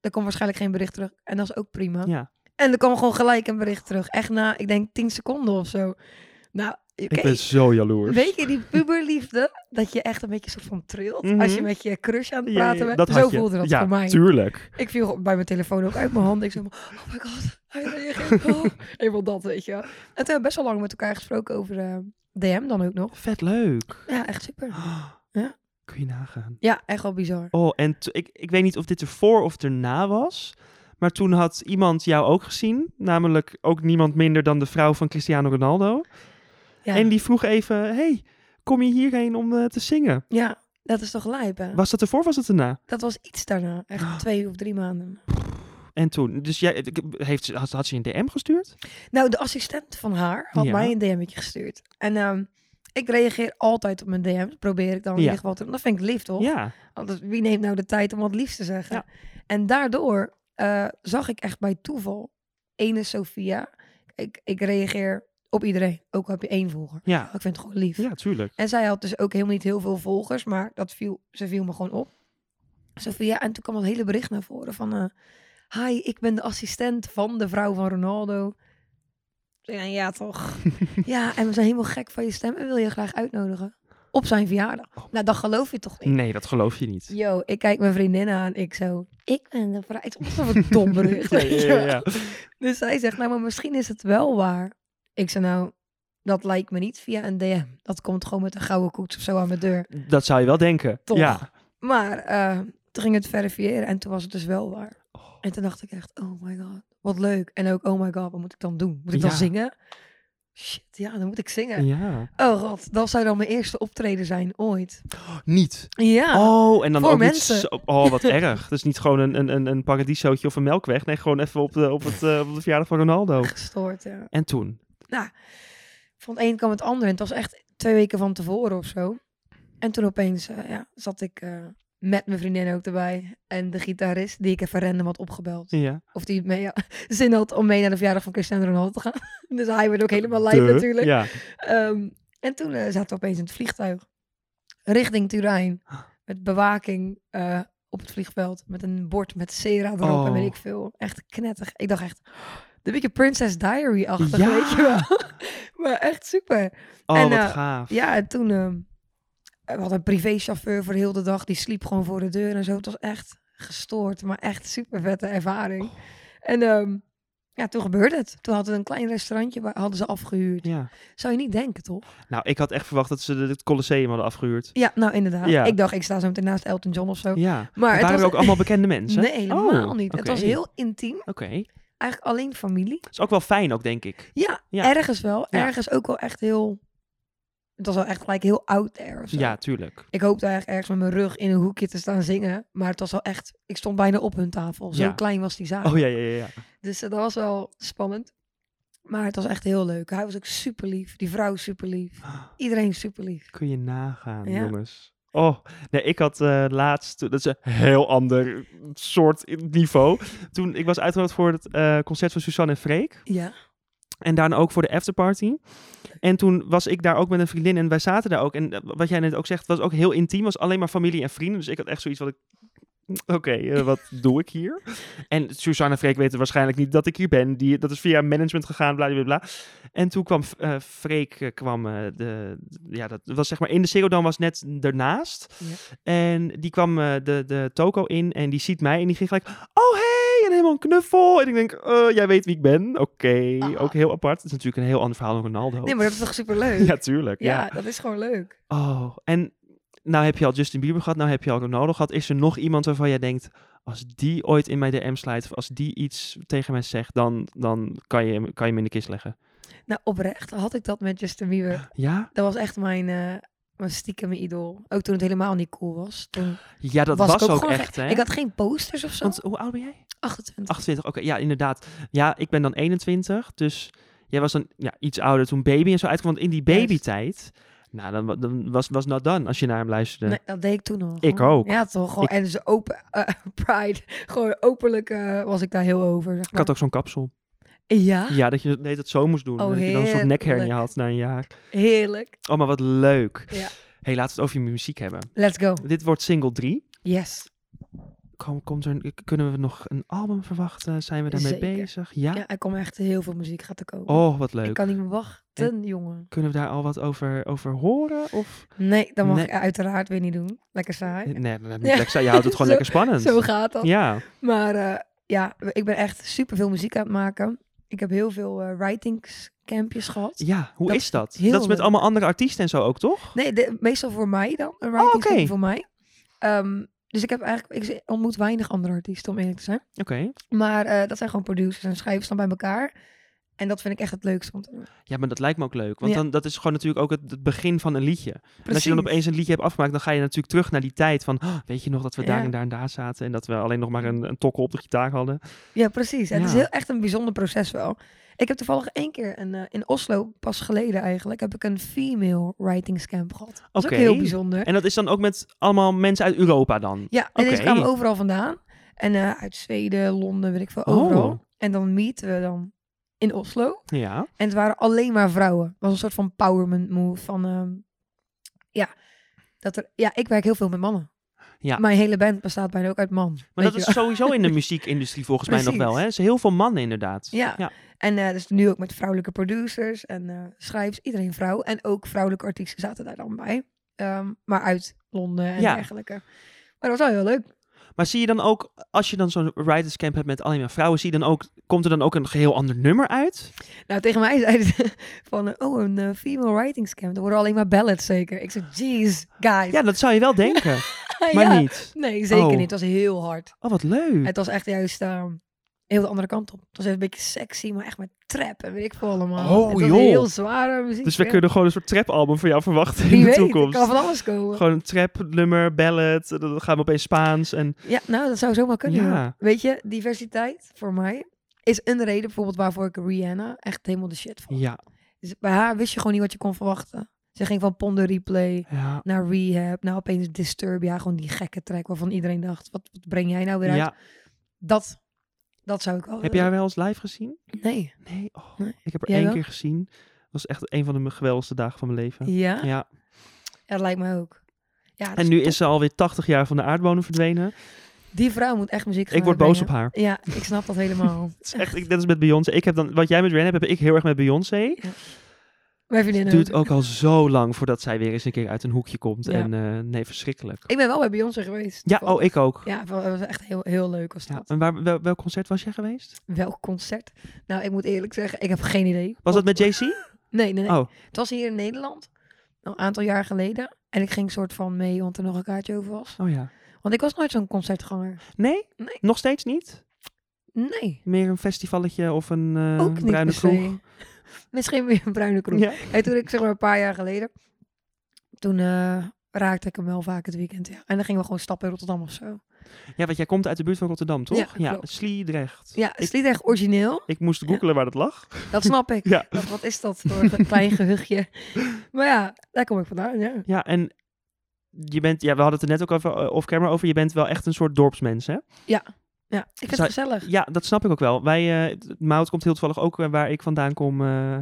Speaker 2: Er komt waarschijnlijk geen bericht terug. En dat is ook prima.
Speaker 1: Ja.
Speaker 2: En er kwam gewoon gelijk een bericht terug. Echt na, ik denk, 10 seconden of zo. Nou, oké.
Speaker 1: Ik ben zo jaloers.
Speaker 2: Weet je die puberliefde? Dat je echt een beetje soort van trilt.
Speaker 1: Mhm.
Speaker 2: Als je met je crush
Speaker 1: Ja,
Speaker 2: aan het
Speaker 1: ja,
Speaker 2: praten
Speaker 1: ja,
Speaker 2: bent.
Speaker 1: dat
Speaker 2: Zo
Speaker 1: had je.
Speaker 2: voelde dat
Speaker 1: ja,
Speaker 2: voor mij.
Speaker 1: tuurlijk.
Speaker 2: Ik viel gewoon bij mijn telefoon ook uit mijn hand. Ik zei, van, oh my god, hij reageert.
Speaker 1: (laughs)
Speaker 2: Oh. Eenmaal dat, weet je wel. En toen hebben we best wel lang met elkaar gesproken over eh, DM dan ook nog.
Speaker 1: Vet leuk.
Speaker 2: Ja, echt super. (gasps) Ja.
Speaker 1: Kun je nagaan.
Speaker 2: Ja, echt wel bizar.
Speaker 1: Oh, en t- ik, ik weet niet of dit ervoor of erna was. Maar toen had iemand jou ook gezien. Namelijk ook niemand minder dan de vrouw van Cristiano Ronaldo.
Speaker 2: Ja,
Speaker 1: En die vroeg even, hey, kom je hierheen om eh, te zingen?
Speaker 2: ja dat is toch lijp, hè?
Speaker 1: Was dat ervoor of was het erna?
Speaker 2: Dat was iets daarna.
Speaker 1: Oh.
Speaker 2: Echt twee of drie maanden.
Speaker 1: En toen, dus jij, ik- heeft, ze- had, had ze je een DM gestuurd?
Speaker 2: Nou, de assistent van haar had
Speaker 1: Ja.
Speaker 2: mij een DM'tje gestuurd. En ehm, ik reageer altijd op mijn DM's. Probeer ik dan in
Speaker 1: Ja.
Speaker 2: ieder geval te doen. Dat vind ik lief, toch?
Speaker 1: Ja.
Speaker 2: Want dat- wie neemt nou de tijd om wat liefs te zeggen? En daardoor eh, zag ik echt bij toeval ene Sophia. Ik, ik reageer op iedereen, ook al heb je één volger. Oh,
Speaker 1: Ja,
Speaker 2: Ik vind het gewoon lief.
Speaker 1: ja tuurlijk.
Speaker 2: En zij had dus ook helemaal niet heel veel volgers, maar dat viel, ze viel me gewoon op. Sophia, en toen kwam dat hele bericht naar voren van... eh, Hi, ik ben de assistent van de vrouw van Ronaldo. Ja, ja toch. ja, en we zijn helemaal gek van je stem en wil je graag uitnodigen. Op zijn verjaardag. Nou, dat geloof je toch niet?
Speaker 1: Nee, dat geloof je (laughs) niet.
Speaker 2: Yo, ik kijk mijn vriendin aan. Ik zo, ik ben de vrouw. Het is wat een dom
Speaker 1: (laughs)
Speaker 2: bericht.
Speaker 1: Ja,
Speaker 2: weet je
Speaker 1: ja, ja,
Speaker 2: wel.
Speaker 1: ja.
Speaker 2: Dus zij zegt, nou, maar misschien is het wel waar. Ik zei, nou, dat lijkt me niet via een DM. Dat komt gewoon met een gouden koets of zo aan mijn deur.
Speaker 1: Dat zou je wel denken.
Speaker 2: Toch.
Speaker 1: Ja.
Speaker 2: Maar eh, toen ging het verifiëren en toen was het dus wel waar.
Speaker 1: Oh.
Speaker 2: En toen dacht ik echt, oh my god, wat leuk. En ook, oh my god, wat moet ik dan doen? Moet ik
Speaker 1: Ja.
Speaker 2: dan zingen? Shit, ja, dan moet ik zingen.
Speaker 1: Ja.
Speaker 2: Oh god, dat zou dan mijn eerste optreden zijn ooit.
Speaker 1: Niet.
Speaker 2: Ja.
Speaker 1: Oh, en dan
Speaker 2: Ah, voor
Speaker 1: ook niet
Speaker 2: mensen.
Speaker 1: zo- oh, wat erg. Dat is niet gewoon een, een- een, een paradisootje of een melkweg. Nee, gewoon even op de, op, het, eh, op de verjaardag van Ronaldo.
Speaker 2: Gestoord, ja.
Speaker 1: En toen?
Speaker 2: van het een kwam het ander. En het was echt twee weken van tevoren of zo. En toen opeens eh, ja, zat ik eh, met mijn vriendin ook erbij. En de gitarist, die ik even random had opgebeld.
Speaker 1: Ja.
Speaker 2: Of die mee, (laughs) zin had om mee naar de verjaardag van Cristiano Ronaldo te gaan. (laughs) dus hij werd ook helemaal lijp
Speaker 1: De-
Speaker 2: natuurlijk.
Speaker 1: Ja.
Speaker 2: Ehm, en toen eh, zaten we opeens in het vliegtuig. Richting Turijn. Met bewaking eh, op het vliegveld. Met een bord met Sera erop en weet
Speaker 1: Oh.
Speaker 2: ik veel. Echt knettig. Ik dacht echt, een beetje Princess Diary-achtig,
Speaker 1: Ja.
Speaker 2: weet je wel. (laughs) maar echt super.
Speaker 1: Oh,
Speaker 2: En,
Speaker 1: wat
Speaker 2: eh,
Speaker 1: gaaf.
Speaker 2: Ja, en toen... ehm we hadden een privéchauffeur voor heel de dag. Die sliep gewoon voor de deur en zo. Het was echt gestoord, maar echt super vette ervaring. En ehm, ja, toen gebeurde het. Toen hadden we een klein restaurantje, waar hadden ze afgehuurd.
Speaker 1: Ja.
Speaker 2: Zou je niet denken, toch?
Speaker 1: Nou, ik had echt verwacht dat ze de- het Colosseum hadden afgehuurd.
Speaker 2: Ja, nou inderdaad.
Speaker 1: Ja.
Speaker 2: Ik dacht, ik sta zo meteen naast Elton John of zo.
Speaker 1: Ja.
Speaker 2: Maar
Speaker 1: Maar
Speaker 2: het
Speaker 1: waren
Speaker 2: was-
Speaker 1: er ook allemaal bekende mensen?
Speaker 2: Nee, helemaal
Speaker 1: Oh,
Speaker 2: niet. Het
Speaker 1: oké.
Speaker 2: was heel intiem.
Speaker 1: Oké.
Speaker 2: Eigenlijk alleen familie.
Speaker 1: Dat is ook wel fijn ook, denk ik.
Speaker 2: Ja,
Speaker 1: Ja.
Speaker 2: ergens wel.
Speaker 1: Ja.
Speaker 2: Ergens ook wel echt heel... Het was wel echt gelijk heel out there of zo.
Speaker 1: Ja, tuurlijk.
Speaker 2: Ik hoopte eigenlijk ergens met mijn rug in een hoekje te staan zingen. Maar het was wel echt... Ik stond bijna op hun tafel. Zo
Speaker 1: Ja.
Speaker 2: klein was die zaal.
Speaker 1: Oh ja, ja, ja. ja.
Speaker 2: Dus eh, dat was wel spannend. Maar het was echt heel leuk. Hij was ook super lief. Die vrouw super lief. Iedereen super lief.
Speaker 1: Kun je nagaan,
Speaker 2: Ja.
Speaker 1: jongens. Oh, nee, ik had eh, laatst, dat is een heel ander soort niveau. Toen, ik was uitgenodigd voor het eh, concert van Suzanne en Freek.
Speaker 2: Ja.
Speaker 1: En daarna ook voor de afterparty. En toen was ik daar ook met een vriendin en wij zaten daar ook. En eh, wat jij net ook zegt, was ook heel intiem. Was alleen maar familie en vrienden. Dus ik had echt zoiets wat ik... Oké, eh, wat doe ik hier? En Suzanne en Freek weten waarschijnlijk niet dat ik hier ben. Die, dat is via management gegaan, bla bla bla. En toen kwam eh, Freek, eh, kwam, eh, de, ja, dat was zeg maar in de Ziggo Dome was net ernaast. En die kwam eh, de, de toko in en die ziet mij en die ging gelijk, oh hey, en helemaal een knuffel. En ik denk, eh, jij weet wie ik ben. Oké,
Speaker 2: Ah.
Speaker 1: ook heel apart. Het is natuurlijk een heel ander verhaal dan Ronaldo.
Speaker 2: Nee, maar dat is toch super leuk?
Speaker 1: (laughs) Ja, tuurlijk. Ja.
Speaker 2: ja, dat is gewoon leuk.
Speaker 1: Oh, en nou heb je al Justin Bieber gehad, nou heb je al Ronaldo gehad. Is er nog iemand waarvan jij denkt, als die ooit in mijn DM slijt, of als die iets tegen mij zegt, dan, dan kan, je, hem- kan je hem in de kist leggen.
Speaker 2: Nou, oprecht had ik dat met Justin Bieber.
Speaker 1: Ja?
Speaker 2: Dat was echt mijn, eh mijn stiekem idool. Ook toen het helemaal niet cool was. Toen
Speaker 1: Ja, dat was, ook,
Speaker 2: gewoon
Speaker 1: echt,
Speaker 2: ge-
Speaker 1: hè?
Speaker 2: Ik had geen posters of zo.
Speaker 1: Want hoe oud ben jij?
Speaker 2: 28.
Speaker 1: 28, oké, ja, inderdaad. Ja, ik ben dan 21, dus jij was dan ja, iets ouder toen baby en zo uitkwam. Want in die
Speaker 2: Juist.
Speaker 1: babytijd, nou, dan, wa- dan was, was not done als je naar hem luisterde.
Speaker 2: Nee, dat deed ik toen al.
Speaker 1: Ik
Speaker 2: gewoon.
Speaker 1: ook.
Speaker 2: Ja, toch. Gewoon,
Speaker 1: Ik-
Speaker 2: En ze open, (laughs) eh, pride. Gewoon openlijk eh, was ik daar heel over. Zeg
Speaker 1: Ik
Speaker 2: maar.
Speaker 1: had ook zo'n kapsel.
Speaker 2: Ja,
Speaker 1: Ja, dat je dat- nee, dat zo moest doen.
Speaker 2: Oh,
Speaker 1: dat je dan een soort
Speaker 2: heerlijk.
Speaker 1: nekhernia had na een jaar.
Speaker 2: heerlijk.
Speaker 1: Oh, maar wat leuk.
Speaker 2: Ja.
Speaker 1: hey, laten we het over je muziek hebben.
Speaker 2: Let's go.
Speaker 1: Dit wordt single 3.
Speaker 2: Yes.
Speaker 1: Kom, komt er, een- kunnen we nog een album verwachten? Zijn we daarmee
Speaker 2: Zeker.
Speaker 1: bezig? Ja?
Speaker 2: Ja, er komt echt heel veel muziek gaat er komen.
Speaker 1: Oh, wat
Speaker 2: ik
Speaker 1: leuk.
Speaker 2: kan niet meer wachten, jongen.
Speaker 1: Kunnen we daar al wat over, over horen? Of...
Speaker 2: Nee, dat mag
Speaker 1: Nee.
Speaker 2: ik uiteraard weer niet doen. Lekker saai.
Speaker 1: Nee, nee, nee,
Speaker 2: Ja.
Speaker 1: lekker saai. je houdt het gewoon lekker spannend.
Speaker 2: (laughs) Zo gaat dat.
Speaker 1: dus- ja.
Speaker 2: Maar eh, ja, ik ben echt super veel muziek aan het maken. Ik heb heel veel eh writingscampjes gehad.
Speaker 1: Ja, hoe
Speaker 2: Dat
Speaker 1: is dat?
Speaker 2: heel
Speaker 1: Dat is met
Speaker 2: leuk.
Speaker 1: allemaal andere artiesten en zo ook, toch?
Speaker 2: Nee, de- meestal voor mij dan. Een writing
Speaker 1: Oh, oké.
Speaker 2: camping voor mij. Ehm, dus ik heb eigenlijk, ik ontmoet weinig andere artiesten om eerlijk te zijn.
Speaker 1: Oké.
Speaker 2: Maar eh, dat zijn gewoon producers en schrijvers dan bij elkaar. En dat vind ik echt het leukste eh, om te doen.
Speaker 1: Ja, maar dat lijkt me ook leuk. Want
Speaker 2: Ja.
Speaker 1: dan, dat is gewoon natuurlijk ook het, het begin van een liedje. En als je dan
Speaker 2: Precies.
Speaker 1: opeens een liedje hebt afgemaakt, dan ga je natuurlijk terug naar die tijd van... "Oh, weet je nog dat we daar
Speaker 2: Ja.
Speaker 1: en daar en daar zaten en dat we alleen nog maar een, een tokkel op de gitaar hadden?
Speaker 2: Ja, precies. En Het
Speaker 1: Ja.
Speaker 2: is heel, echt een bijzonder proces wel. Ik heb toevallig één keer een, eh, in Oslo, pas geleden eigenlijk, heb ik een female writing camp gehad. Dat is
Speaker 1: Oké.
Speaker 2: ook heel bijzonder.
Speaker 1: (laughs) En dat is dan ook met allemaal mensen uit Europa dan?
Speaker 2: Ja, en
Speaker 1: Oké.
Speaker 2: deze kwamen overal vandaan. En eh, uit Zweden, Londen, weet ik veel, overal.
Speaker 1: Oh.
Speaker 2: En dan meeten we dan in Oslo.
Speaker 1: Ja.
Speaker 2: En het waren alleen maar vrouwen. Het was een soort van powerment move van... ehm, ja, dat er, ja, ik werk heel veel met mannen.
Speaker 1: Ja.
Speaker 2: Mijn hele band bestaat bijna ook uit man.
Speaker 1: Maar
Speaker 2: weet
Speaker 1: dat
Speaker 2: je
Speaker 1: is
Speaker 2: wel.
Speaker 1: sowieso
Speaker 2: (laughs)
Speaker 1: in de muziekindustrie volgens mij nog
Speaker 2: Precies.
Speaker 1: wel, hè? Er zijn heel veel mannen inderdaad.
Speaker 2: Ja.
Speaker 1: Ja.
Speaker 2: En eh, dus nu ook met vrouwelijke producers en eh, schrijvers. Iedereen vrouw. En ook vrouwelijke artiesten zaten daar dan bij. Ehm, maar uit Londen en
Speaker 1: Ja.
Speaker 2: dergelijke. Maar dat was wel heel leuk.
Speaker 1: Maar zie je dan ook, als je dan zo'n writerscamp hebt met alleen maar vrouwen, zie je dan ook, komt er dan ook een geheel ander nummer uit?
Speaker 2: Nou, tegen mij (laughs) zeiden ze van... eh, Oh, een eh, female writing scam. Er worden alleen maar ballads zeker. Ik zei, jeez, guys. (laughs)
Speaker 1: Ja, dat zou je wel denken, maar
Speaker 2: Ja.
Speaker 1: niet.
Speaker 2: Nee, zeker
Speaker 1: Oh.
Speaker 2: niet. Het was heel hard.
Speaker 1: Oh, wat leuk.
Speaker 2: Het was echt juist ehm, heel de andere kant op. Het was even een beetje sexy, maar echt met trap en weet ik veel allemaal.
Speaker 1: Oh,
Speaker 2: het was
Speaker 1: joh.
Speaker 2: heel zware muziek.
Speaker 1: Dus we
Speaker 2: ja.
Speaker 1: kunnen gewoon een soort trap-album voor jou verwachten
Speaker 2: Wie
Speaker 1: in de
Speaker 2: weet,
Speaker 1: toekomst.
Speaker 2: Het kan van alles komen.
Speaker 1: Gewoon een trap-nummer, ballad, eh, dan gaan we opeens Spaans. En...
Speaker 2: Ja, nou, dat zou zomaar kunnen.
Speaker 1: Ja.
Speaker 2: ja. Weet je, diversiteit voor mij is een reden bijvoorbeeld waarvoor ik Rihanna echt helemaal de shit vond.
Speaker 1: Ja,
Speaker 2: Dus bij haar wist je gewoon niet wat je kon verwachten. Ze ging van Ponder Replay
Speaker 1: ja,
Speaker 2: naar Rehab, nou opeens Disturbia, gewoon die gekke track waarvan iedereen dacht, wat, wat breng jij nou weer uit?
Speaker 1: ja.
Speaker 2: Dat, dat zou ik wel
Speaker 1: Heb jij
Speaker 2: willen.
Speaker 1: haar wel eens live gezien?
Speaker 2: Nee.
Speaker 1: Nee, oh,
Speaker 2: Nee.
Speaker 1: ik heb er
Speaker 2: Jij
Speaker 1: één
Speaker 2: wel?
Speaker 1: keer gezien. Dat was echt een van de geweldigste dagen van mijn leven.
Speaker 2: Ja? ja?
Speaker 1: Ja.
Speaker 2: dat lijkt mij ook. Ja, dat
Speaker 1: En
Speaker 2: is
Speaker 1: nu
Speaker 2: top.
Speaker 1: is ze alweer 80 jaar van de aardbodem verdwenen.
Speaker 2: Die vrouw moet echt muziek gaan
Speaker 1: Ik word boos op
Speaker 2: uitbrengen.
Speaker 1: haar.
Speaker 2: Ja, ik
Speaker 1: (laughs)
Speaker 2: snap dat helemaal.
Speaker 1: Het is echt, ik, net als met Beyoncé. Ik heb dan, wat jij met Rihanna hebt, heb ik heel erg met Beyoncé.
Speaker 2: Maar Mijn vriendin
Speaker 1: Het
Speaker 2: ook.
Speaker 1: duurt ook al zo lang voordat zij weer eens een keer uit een hoekje komt.
Speaker 2: Ja.
Speaker 1: En eh, nee, verschrikkelijk.
Speaker 2: Ik ben wel bij Beyoncé geweest.
Speaker 1: Ja,
Speaker 2: toevallig.
Speaker 1: oh, ik ook. Ja.
Speaker 2: Ja, dat was echt heel, heel leuk was dat.
Speaker 1: En waar, wel, welk concert was jij geweest?
Speaker 2: Welk concert? Nou, ik moet eerlijk zeggen, ik heb geen idee.
Speaker 1: Was dat met
Speaker 2: Op-
Speaker 1: JC?
Speaker 2: Nee, nee, nee.
Speaker 1: Oh.
Speaker 2: Het was hier in Nederland. Een aantal jaar geleden. En ik ging soort van mee, want er nog een kaartje over was.
Speaker 1: Oh ja.
Speaker 2: Want ik was nooit zo'n concertganger.
Speaker 1: Nee?
Speaker 2: Nee.
Speaker 1: Nog steeds niet?
Speaker 2: Nee,
Speaker 1: Meer een festivalletje of een eh,
Speaker 2: ook niet
Speaker 1: bruine
Speaker 2: per se.
Speaker 1: kroeg?
Speaker 2: (laughs) Misschien weer een bruine kroeg.
Speaker 1: Ja.
Speaker 2: En toen ik zeg maar een paar jaar geleden, toen eh, raakte ik hem wel vaak het weekend. Ja. En dan gingen we gewoon stappen in Rotterdam of zo.
Speaker 1: ja, want jij komt uit de buurt van Rotterdam, toch?
Speaker 2: Ja, klopt.
Speaker 1: Sliedrecht.
Speaker 2: Ja,
Speaker 1: Ik-
Speaker 2: is niet echt origineel.
Speaker 1: Ik moest googelen waar dat lag.
Speaker 2: Dat snap ik.
Speaker 1: (laughs) Ja.
Speaker 2: Wat, wat is dat voor een klein gehuchtje? Maar ja, daar kom ik vandaan. Ja.
Speaker 1: Ja, en je bent, ja, we hadden het er net ook over, eh, off-camera over. Je bent wel echt een soort dorpsmens, hè?
Speaker 2: Ja, ik vind
Speaker 1: Zou-
Speaker 2: het gezellig.
Speaker 1: Ja, dat snap ik ook wel. Wij, eh Mout komt heel toevallig ook eh, waar ik vandaan kom, eh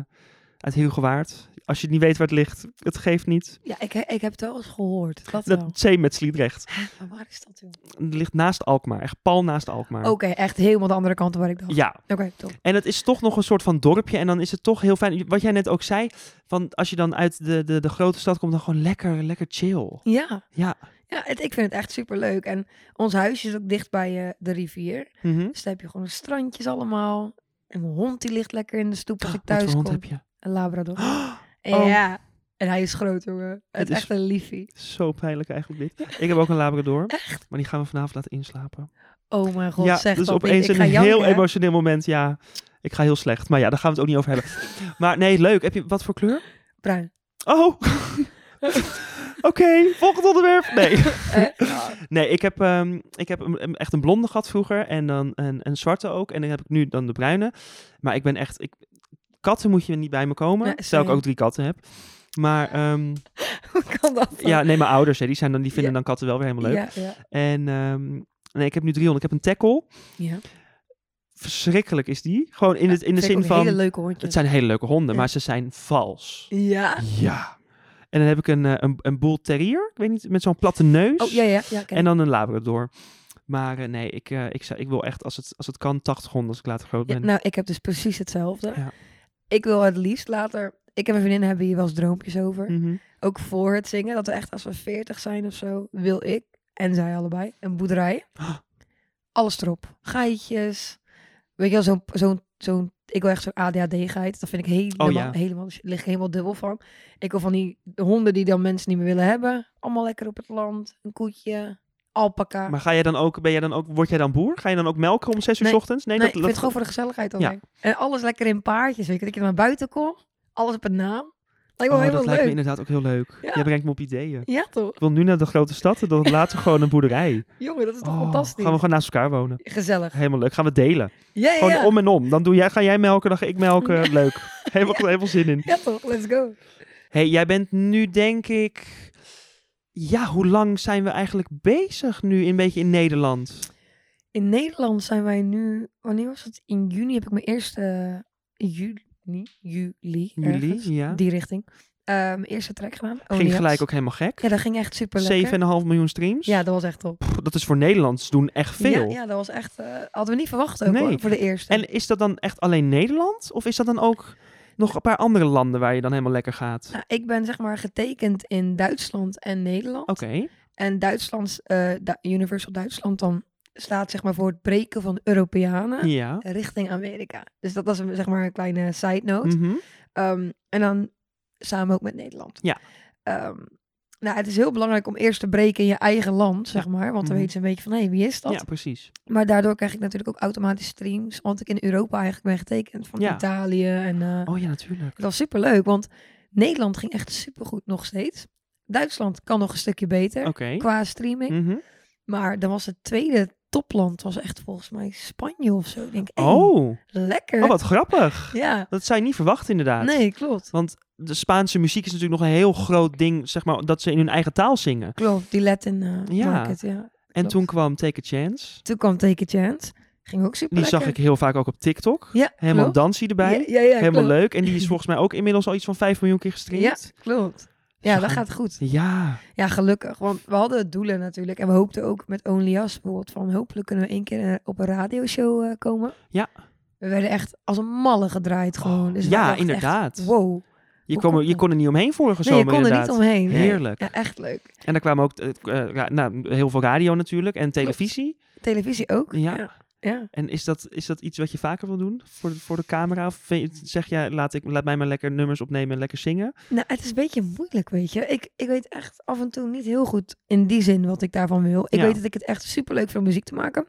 Speaker 1: uit Hilgewaard. Als je niet weet waar het ligt, het geeft niet.
Speaker 2: Ja, ik, ik heb het wel eens gehoord. Dat wel.
Speaker 1: Dat zee met Sliedrecht.
Speaker 2: Maar waar is dat, joh?
Speaker 1: Het ligt naast Alkmaar, echt pal naast Alkmaar.
Speaker 2: Oké, echt helemaal de andere kant dan waar ik dacht.
Speaker 1: Nou. Ja,
Speaker 2: Oké, top.
Speaker 1: en het is toch nog een soort van dorpje. En dan is het toch heel fijn. Wat jij net ook zei, van als je dan uit de, de, de grote stad komt, dan gewoon lekker, lekker chill.
Speaker 2: Ja,
Speaker 1: Ja.
Speaker 2: ja het, ik vind het echt superleuk. En ons huis is ook dicht bij eh, de rivier.
Speaker 1: Mhm.
Speaker 2: Dus daar heb je gewoon strandjes allemaal. En mijn hond die ligt lekker in de stoep als ik
Speaker 1: Ah, Wat
Speaker 2: thuis
Speaker 1: voor
Speaker 2: kom.
Speaker 1: hond heb (gasps) je?
Speaker 2: Een labrador. En
Speaker 1: Oh.
Speaker 2: Ja, en hij is groot, jongen. Het
Speaker 1: is-
Speaker 2: is echt een liefie.
Speaker 1: Zo pijnlijk eigenlijk dit. Ik heb ook een labrador. Maar die gaan we vanavond laten inslapen.
Speaker 2: Oh mijn god,
Speaker 1: ja,
Speaker 2: zeg
Speaker 1: dus
Speaker 2: dat niet.
Speaker 1: opeens
Speaker 2: Ik
Speaker 1: een
Speaker 2: ga janken,
Speaker 1: heel
Speaker 2: hè.
Speaker 1: emotioneel moment. Ja, ik ga heel slecht. Maar ja, daar gaan we het ook niet over hebben.
Speaker 2: (laughs)
Speaker 1: maar nee, leuk. Heb je wat voor kleur?
Speaker 2: Bruin. (laughs)
Speaker 1: Oh! (laughs) Oké, volgend onderwerp. Nee,
Speaker 2: (laughs) Eh, nou,
Speaker 1: nee ik heb, ehm, ik heb een- een- echt een blonde gehad vroeger en dan een, een zwarte ook. En dan heb ik nu dan de bruine. Maar ik ben echt... Ik, katten moet je niet bij me komen,
Speaker 2: Nee,
Speaker 1: terwijl ik
Speaker 2: same.
Speaker 1: ook drie katten heb. Maar ehm,
Speaker 2: Hoe kan dat dan?
Speaker 1: ja, nee, mijn ouders, hè, die, zijn dan, die vinden
Speaker 2: Ja.
Speaker 1: dan katten wel weer helemaal leuk.
Speaker 2: Ja, ja.
Speaker 1: En ehm, nee, ik heb nu 300. Ik heb een tackle.
Speaker 2: ja.
Speaker 1: Verschrikkelijk is die. Gewoon in, het, in de
Speaker 2: Vind ik
Speaker 1: zin
Speaker 2: ook Hele
Speaker 1: van...
Speaker 2: leuke hondjes.
Speaker 1: Het zijn hele leuke honden,
Speaker 2: Ja.
Speaker 1: maar ze zijn vals.
Speaker 2: Ja.
Speaker 1: Ja. En dan heb ik een, eh, een, een boel terrier. Ik weet niet, met zo'n platte neus.
Speaker 2: Oh, ja, ja. ja ken
Speaker 1: En
Speaker 2: ik.
Speaker 1: dan een labrador. Maar eh, nee, ik, eh, ik, zou, ik wil echt, als het, als het kan, 80 honden als ik later groot
Speaker 2: Ja,
Speaker 1: ben.
Speaker 2: nou, ik heb dus precies hetzelfde.
Speaker 1: Ja.
Speaker 2: Ik wil het liefst later... Ik en mijn vriendinnen hebben hier wel eens droompjes over.
Speaker 1: Mhm.
Speaker 2: Ook voor het zingen. Dat we echt als we veertig zijn of zo, wil ik en zij allebei
Speaker 1: (gasps)
Speaker 2: een boerderij. Alles erop. Geitjes. Weet je wel, zo'n... zo'n zo'n ik wil echt zo'n ADHD-geit. Dat vind ik helemaal...
Speaker 1: Oh, ja.
Speaker 2: helemaal daar lig ik helemaal dubbel van. Ik wil van die honden die dan mensen niet meer willen hebben. Allemaal lekker op het land. Een koetje. Alpaca.
Speaker 1: Maar ga jij dan ook, ben jij dan ook, word jij dan boer? Ga je dan ook melken om 6 uur
Speaker 2: Nee.
Speaker 1: 's ochtends? Nee,
Speaker 2: Nee,
Speaker 1: dat,
Speaker 2: ik vind het gewoon voor de gezelligheid alleen.
Speaker 1: Ja.
Speaker 2: En alles lekker in paardjes. Weet je, dat je naar buiten kon. Alles op een naam. Lijkt me
Speaker 1: Oh, dat
Speaker 2: wel heel
Speaker 1: lijkt me
Speaker 2: leuk.
Speaker 1: inderdaad ook heel leuk.
Speaker 2: Ja.
Speaker 1: Jij brengt me op ideeën.
Speaker 2: Ja toch?
Speaker 1: Ik wil nu naar de grote stad en dan later gewoon een boerderij.
Speaker 2: Jongen, dat is toch
Speaker 1: Oh,
Speaker 2: fantastisch.
Speaker 1: Gaan we gewoon naast elkaar wonen.
Speaker 2: Gezellig.
Speaker 1: Helemaal leuk. Gaan we delen.
Speaker 2: Ja, ja,
Speaker 1: Gewoon
Speaker 2: ja.
Speaker 1: om en om. Dan doe jij, ga jij melken, dan ga ik melken. Leuk. Helemaal, helemaal zin in.
Speaker 2: (laughs) Ja toch, let's go.
Speaker 1: hey, jij bent nu denk ik... Ja, hoe lang zijn we eigenlijk bezig nu een beetje in Nederland?
Speaker 2: In Nederland zijn wij nu... Wanneer was het? In juni heb ik mijn eerste... Juli? Juli?
Speaker 1: Juli,
Speaker 2: ergens,
Speaker 1: ja.
Speaker 2: Die richting. Eh, mijn eerste track gedaan.
Speaker 1: Ging
Speaker 2: Onias.
Speaker 1: gelijk ook helemaal gek.
Speaker 2: Ja, dat ging echt super
Speaker 1: 7,5
Speaker 2: lekker.
Speaker 1: miljoen streams.
Speaker 2: Ja, dat was echt top.
Speaker 1: Pff, dat is voor Nederlands doen echt veel.
Speaker 2: Ja, ja, dat was echt... eh, hadden we niet verwacht ook
Speaker 1: Nee.
Speaker 2: hoor, voor de eerste.
Speaker 1: En is dat dan echt alleen Nederland? Of is dat dan ook nog een paar andere landen waar je dan helemaal lekker gaat?
Speaker 2: Nou, ik ben zeg maar getekend in Duitsland en Nederland.
Speaker 1: Oké.
Speaker 2: En Duitsland, eh, Du- Universal Duitsland dan staat zeg maar voor het breken van Europeanen
Speaker 1: Ja.
Speaker 2: richting Amerika. Dus dat was een, zeg maar een kleine side note.
Speaker 1: Mhm.
Speaker 2: Ehm, en dan samen ook met Nederland.
Speaker 1: Ja.
Speaker 2: Ehm, nou, het is heel belangrijk om eerst te breken in je eigen land, zeg maar. Want
Speaker 1: Mhm.
Speaker 2: dan weten ze een beetje van, hé, wie is dat?
Speaker 1: Ja, precies.
Speaker 2: Maar daardoor krijg ik natuurlijk ook automatisch streams. Want ik in Europa eigenlijk ben getekend. Van
Speaker 1: Ja.
Speaker 2: Italië en... eh,
Speaker 1: Oh ja, natuurlijk.
Speaker 2: het was superleuk, want Nederland ging echt supergoed nog steeds. Duitsland kan nog een stukje beter
Speaker 1: Oké.
Speaker 2: qua streaming.
Speaker 1: Mhm.
Speaker 2: Maar dan was het tweede topland was echt volgens mij Spanje of zo. Ik denk, hey,
Speaker 1: Oh.
Speaker 2: lekker.
Speaker 1: oh, wat grappig.
Speaker 2: Ja,
Speaker 1: Dat zou je niet verwachten inderdaad.
Speaker 2: nee, klopt.
Speaker 1: Want de Spaanse muziek is natuurlijk nog een heel groot ding, zeg maar, dat ze in hun eigen taal zingen.
Speaker 2: Klopt, die Latin eh,
Speaker 1: Ja.
Speaker 2: market, ja.
Speaker 1: En
Speaker 2: Klopt.
Speaker 1: toen kwam Take a Chance.
Speaker 2: Toen kwam Take a Chance. Ging ook super
Speaker 1: Die zag ik heel vaak ook op TikTok.
Speaker 2: Ja,
Speaker 1: Helemaal
Speaker 2: klopt.
Speaker 1: dansie erbij.
Speaker 2: Ja, ja, ja,
Speaker 1: Helemaal
Speaker 2: klopt.
Speaker 1: leuk. En die
Speaker 2: (laughs)
Speaker 1: is volgens mij ook inmiddels al iets van 5 miljoen keer
Speaker 2: Ja,
Speaker 1: gestreamd.
Speaker 2: klopt. Ja, dat
Speaker 1: Zo.
Speaker 2: gaat goed.
Speaker 1: Ja.
Speaker 2: Ja, gelukkig. Want we hadden doelen natuurlijk. En we hoopten ook met Only Us bijvoorbeeld van hopelijk kunnen we één keer eh, op een radioshow eh, komen.
Speaker 1: Ja. Oh,
Speaker 2: We werden echt als een malle gedraaid gewoon. Dus we
Speaker 1: Ja,
Speaker 2: dachten echt,
Speaker 1: inderdaad.
Speaker 2: wow.
Speaker 1: Je,
Speaker 2: Hoe
Speaker 1: kwam, er-
Speaker 2: komt
Speaker 1: je
Speaker 2: dat?
Speaker 1: kon er niet omheen vorige
Speaker 2: Nee, je
Speaker 1: zomer
Speaker 2: kon er
Speaker 1: inderdaad.
Speaker 2: niet omheen. nee.
Speaker 1: Heerlijk.
Speaker 2: Ja, echt leuk.
Speaker 1: En daar kwamen ook eh, eh, ra- nou, heel veel radio natuurlijk en televisie.
Speaker 2: Televisie ook.
Speaker 1: Ja.
Speaker 2: Ja. ja.
Speaker 1: En is dat, is dat iets wat je vaker wil doen voor de, voor de camera? Of vind je- zeg jij, laat, ik, laat mij maar lekker nummers opnemen en lekker zingen?
Speaker 2: Nou, het is een beetje moeilijk, weet je. Ik, ik weet echt af en toe niet heel goed in die zin wat ik daarvan wil. Ik
Speaker 1: Ja.
Speaker 2: weet dat ik het echt superleuk vind om muziek te maken.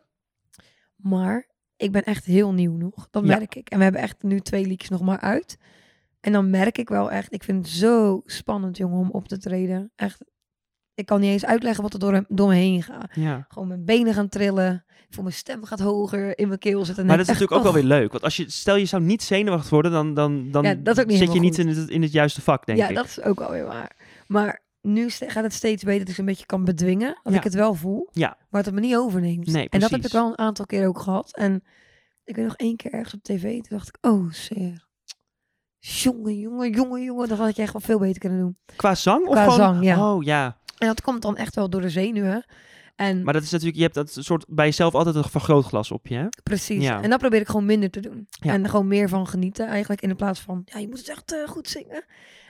Speaker 2: Maar ik ben echt heel nieuw nog. Dat
Speaker 1: Ja.
Speaker 2: merk ik. En we hebben echt nu twee liedjes nog maar uit. En dan merk ik wel echt... Ik vind het zo spannend, jongen, om op te treden. Echt. Ik kan niet eens uitleggen wat er door, door me heen gaat.
Speaker 1: Ja.
Speaker 2: Gewoon mijn benen gaan trillen. Ik voel mijn stem gaat hoger. In mijn keel zitten. oh.
Speaker 1: Maar dat is natuurlijk ook wel weer leuk. Want als je, stel je zou niet zenuwachtig worden, dan, dan, dan
Speaker 2: Ja, dat is ook niet
Speaker 1: zit je
Speaker 2: helemaal
Speaker 1: niet in het, in het juiste vak, denk
Speaker 2: ja,
Speaker 1: ik.
Speaker 2: dat is ook alweer waar. Maar nu ste- gaat het steeds beter dat ik ze een beetje kan bedwingen. Dat
Speaker 1: Ja.
Speaker 2: ik het wel voel,
Speaker 1: Ja.
Speaker 2: maar dat het me niet overneemt.
Speaker 1: Nee,
Speaker 2: en dat heb
Speaker 1: precies.
Speaker 2: ik wel een aantal keer ook gehad. En ik weet nog één keer ergens op tv, toen dacht ik, oh zeer. Jongen, jongen, jongen, jongen. Dat had je echt wel veel beter kunnen doen.
Speaker 1: Qua zang? Of
Speaker 2: Qua
Speaker 1: gewoon...
Speaker 2: zang, ja. Mm.
Speaker 1: Oh ja.
Speaker 2: En dat komt dan echt wel door de zenuwen. En
Speaker 1: Maar dat is natuurlijk, je hebt dat soort bij jezelf altijd een vergrootglas op je. Hè?
Speaker 2: precies.
Speaker 1: ja.
Speaker 2: En dat probeer ik gewoon minder te doen.
Speaker 1: Ja.
Speaker 2: En gewoon meer van genieten eigenlijk. In de plaats van, ja, je moet het echt eh, goed zingen.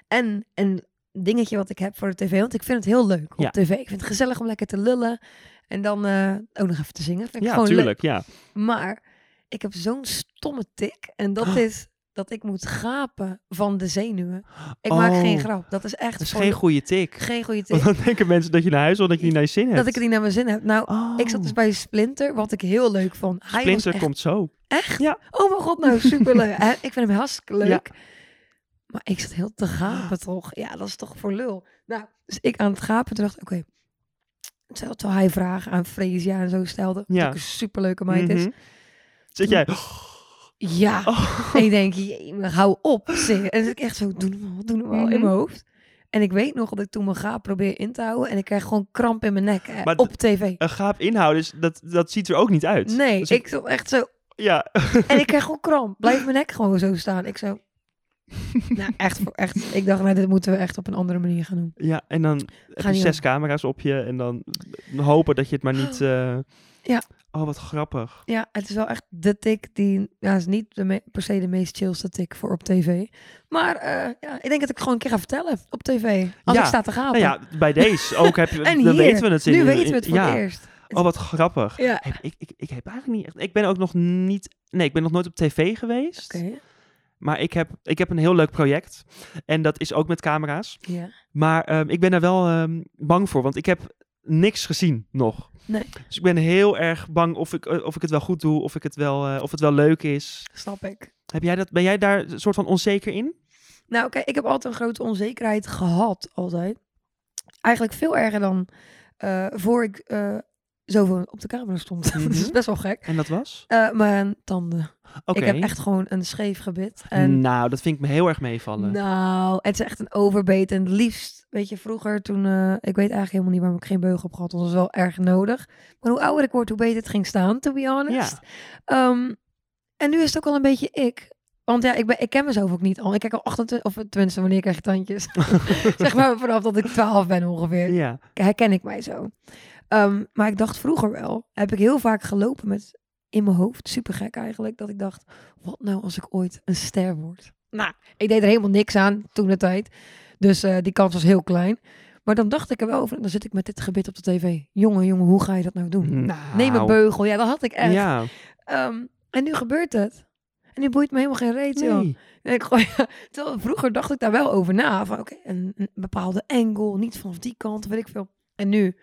Speaker 2: En een dingetje wat ik heb voor de tv. Want ik vind het heel leuk op
Speaker 1: Ja.
Speaker 2: tv. Ik vind het gezellig om lekker te lullen. En dan eh, ook nog even te zingen. Vind ik
Speaker 1: Ja,
Speaker 2: gewoon
Speaker 1: tuurlijk. Ja.
Speaker 2: leuk. Maar ik heb zo'n stomme tik. En dat
Speaker 1: Ah.
Speaker 2: is dat ik moet gapen van de zenuwen. Ik maak
Speaker 1: Oh.
Speaker 2: geen grap. Dat is echt
Speaker 1: Dat is
Speaker 2: voor-
Speaker 1: geen goede tik.
Speaker 2: geen goede tik.
Speaker 1: Want dan denken mensen dat je naar huis wil, dat je niet naar je zin hebt.
Speaker 2: Dat ik het niet naar mijn zin heb. Nou,
Speaker 1: Oh.
Speaker 2: ik zat dus bij Splinter, wat ik heel leuk vond. Hij was
Speaker 1: Splinter
Speaker 2: echt
Speaker 1: komt zo.
Speaker 2: Echt?
Speaker 1: Ja.
Speaker 2: Oh mijn god,
Speaker 1: (laughs)
Speaker 2: nou superleuk. Hè, ik vind hem hartstikke
Speaker 1: Ja.
Speaker 2: leuk. Maar ik zat heel te
Speaker 1: (gasps)
Speaker 2: gapen toch? Ja, dat is toch voor lul. Nou, dus ik aan het gapen toen dacht ik, oké. Terwijl terwijl hij vragen aan Freesia en zo stelde.
Speaker 1: Ja.
Speaker 2: Ja. Ook een superleuke meid
Speaker 1: Mhm.
Speaker 2: is. Mm.
Speaker 1: Zit jij...
Speaker 2: Ja.
Speaker 1: (laughs) Oh.
Speaker 2: En ik denk, jee, hou op. zeg. En dan zit ik echt zo, doe normaal, doe normaal in
Speaker 1: Mhm.
Speaker 2: mijn hoofd. En ik weet nog dat ik toen mijn gaap probeer in te houden. En ik krijg gewoon kramp in mijn nek hè,
Speaker 1: Maar d-
Speaker 2: op tv.
Speaker 1: Een gaap inhouden, is, dat, dat ziet er ook niet uit.
Speaker 2: Nee,
Speaker 1: Dus
Speaker 2: ik zat echt zo,
Speaker 1: Ja,
Speaker 2: En ik kreeg gewoon kramp. Blijf mijn nek gewoon zo staan. Ik
Speaker 1: (laughs)
Speaker 2: zo... nou, echt, voor- echt. Ik dacht, nou, dit moeten we echt op een andere manier gaan doen.
Speaker 1: ja, en dan heb
Speaker 2: Ga
Speaker 1: je
Speaker 2: niet Oh.
Speaker 1: zes camera's op je en dan hopen dat je het maar niet... eh,
Speaker 2: Ja.
Speaker 1: Oh, wat grappig.
Speaker 2: Ja, het is wel echt de tik die... Ja, is niet de me- per se de meest chillste tik voor op tv. Maar eh, ja, ik denk dat ik gewoon een keer ga vertellen op tv. Als
Speaker 1: Ja.
Speaker 2: ik sta te gapen.
Speaker 1: Nou ja, bij deze ook heb je...
Speaker 2: (laughs) en
Speaker 1: dan
Speaker 2: hier,
Speaker 1: weten we het. in-
Speaker 2: nu
Speaker 1: in-
Speaker 2: weten we het voor
Speaker 1: ja.
Speaker 2: het eerst.
Speaker 1: Oh, wat grappig.
Speaker 2: Ja.
Speaker 1: Hey, ik, ik, ik heb eigenlijk niet echt... Ik ben ook nog niet... Nee, ik ben nog nooit op tv geweest.
Speaker 2: Oké,
Speaker 1: Maar ik heb, ik heb een heel leuk project. En dat is ook met camera's.
Speaker 2: ja.
Speaker 1: Maar ehm, ik ben daar wel ehm, bang voor, want ik heb niks gezien nog.
Speaker 2: Nee.
Speaker 1: Dus ik ben heel erg bang of ik, eh, of ik het wel goed doe, of, ik het wel, eh, of het wel leuk is.
Speaker 2: Snap ik.
Speaker 1: Heb jij dat, ben jij daar een soort van onzeker in?
Speaker 2: Nou, oké, ik heb altijd een grote onzekerheid gehad, altijd. Eigenlijk veel erger dan eh voor ik eh zoveel op de camera stond. (laughs) dat is
Speaker 1: Mhm.
Speaker 2: best wel gek.
Speaker 1: En dat was?
Speaker 2: Eh, mijn tanden.
Speaker 1: Oké.
Speaker 2: Ik heb echt gewoon een scheef gebit. En
Speaker 1: Nou, dat vind ik me heel erg meevallen.
Speaker 2: nou, het is echt een overbeet. En het liefst, weet je, vroeger toen... eh, ik weet eigenlijk helemaal niet waarom ik geen beugel heb gehad. want Dat was wel erg nodig. Maar hoe ouder ik word, hoe beter het ging staan, to be honest.
Speaker 1: ja.
Speaker 2: Ehm, en nu is het ook al een beetje ik. Want ja, ik, ben, ik ken mezelf ook niet al. Ik kijk al 28, of tenminste, wanneer krijg je tandjes? (laughs) zeg maar vanaf dat ik 12 ben ongeveer
Speaker 1: ja.
Speaker 2: herken ik mij zo. Ehm, maar ik dacht vroeger wel, heb ik heel vaak gelopen met in mijn hoofd, super gek eigenlijk, dat ik dacht, wat nou als ik ooit een ster word? Nou, ik deed er helemaal niks aan toen de tijd. Dus eh, die kans was heel klein. Maar dan dacht ik er wel over, en dan zit ik met dit gebit op de tv. Jongen, jongen, hoe ga je dat nou doen?
Speaker 1: Nou.
Speaker 2: Neem een beugel. Ja, dat had ik echt.
Speaker 1: Ja.
Speaker 2: Ehm, en nu gebeurt het. En nu boeit me helemaal geen reet, joh.
Speaker 1: Nee.
Speaker 2: En ik gooi, (laughs) terwijl vroeger dacht ik daar wel over na. Van oké, een, een bepaalde angle, niet vanaf die kant, weet ik veel. En nu,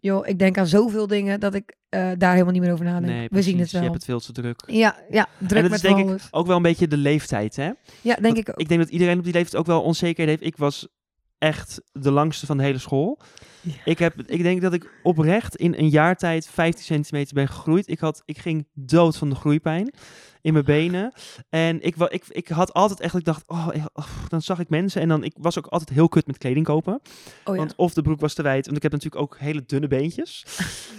Speaker 2: joh, ik denk aan zoveel dingen dat ik eh, daar helemaal niet meer over nadenk.
Speaker 1: Nee,
Speaker 2: We zien
Speaker 1: precies.
Speaker 2: het wel.
Speaker 1: Je hebt het veel te druk.
Speaker 2: Ja, ja, druk
Speaker 1: en
Speaker 2: met
Speaker 1: dat is denk
Speaker 2: alles.
Speaker 1: ik ook wel een beetje de leeftijd, hè?
Speaker 2: Ja, denk
Speaker 1: Want
Speaker 2: ik ook.
Speaker 1: Ik denk dat iedereen op die leeftijd ook wel onzekerheid heeft. Ik was echt de langste van de hele school.
Speaker 2: Ja.
Speaker 1: Ik, heb, ik denk dat ik oprecht in een jaar tijd 15 centimeter ben gegroeid. Ik, had, ik ging dood van de groeipijn in mijn benen. En ik, wa- ik, ik had altijd echt, ik dacht, oh, ik- oh, dan zag ik mensen. En dan, ik was ook altijd heel kut met kleding kopen.
Speaker 2: oh, ja.
Speaker 1: Want of de broek was te wijd, want ik heb natuurlijk ook hele dunne
Speaker 2: (laughs)
Speaker 1: beentjes.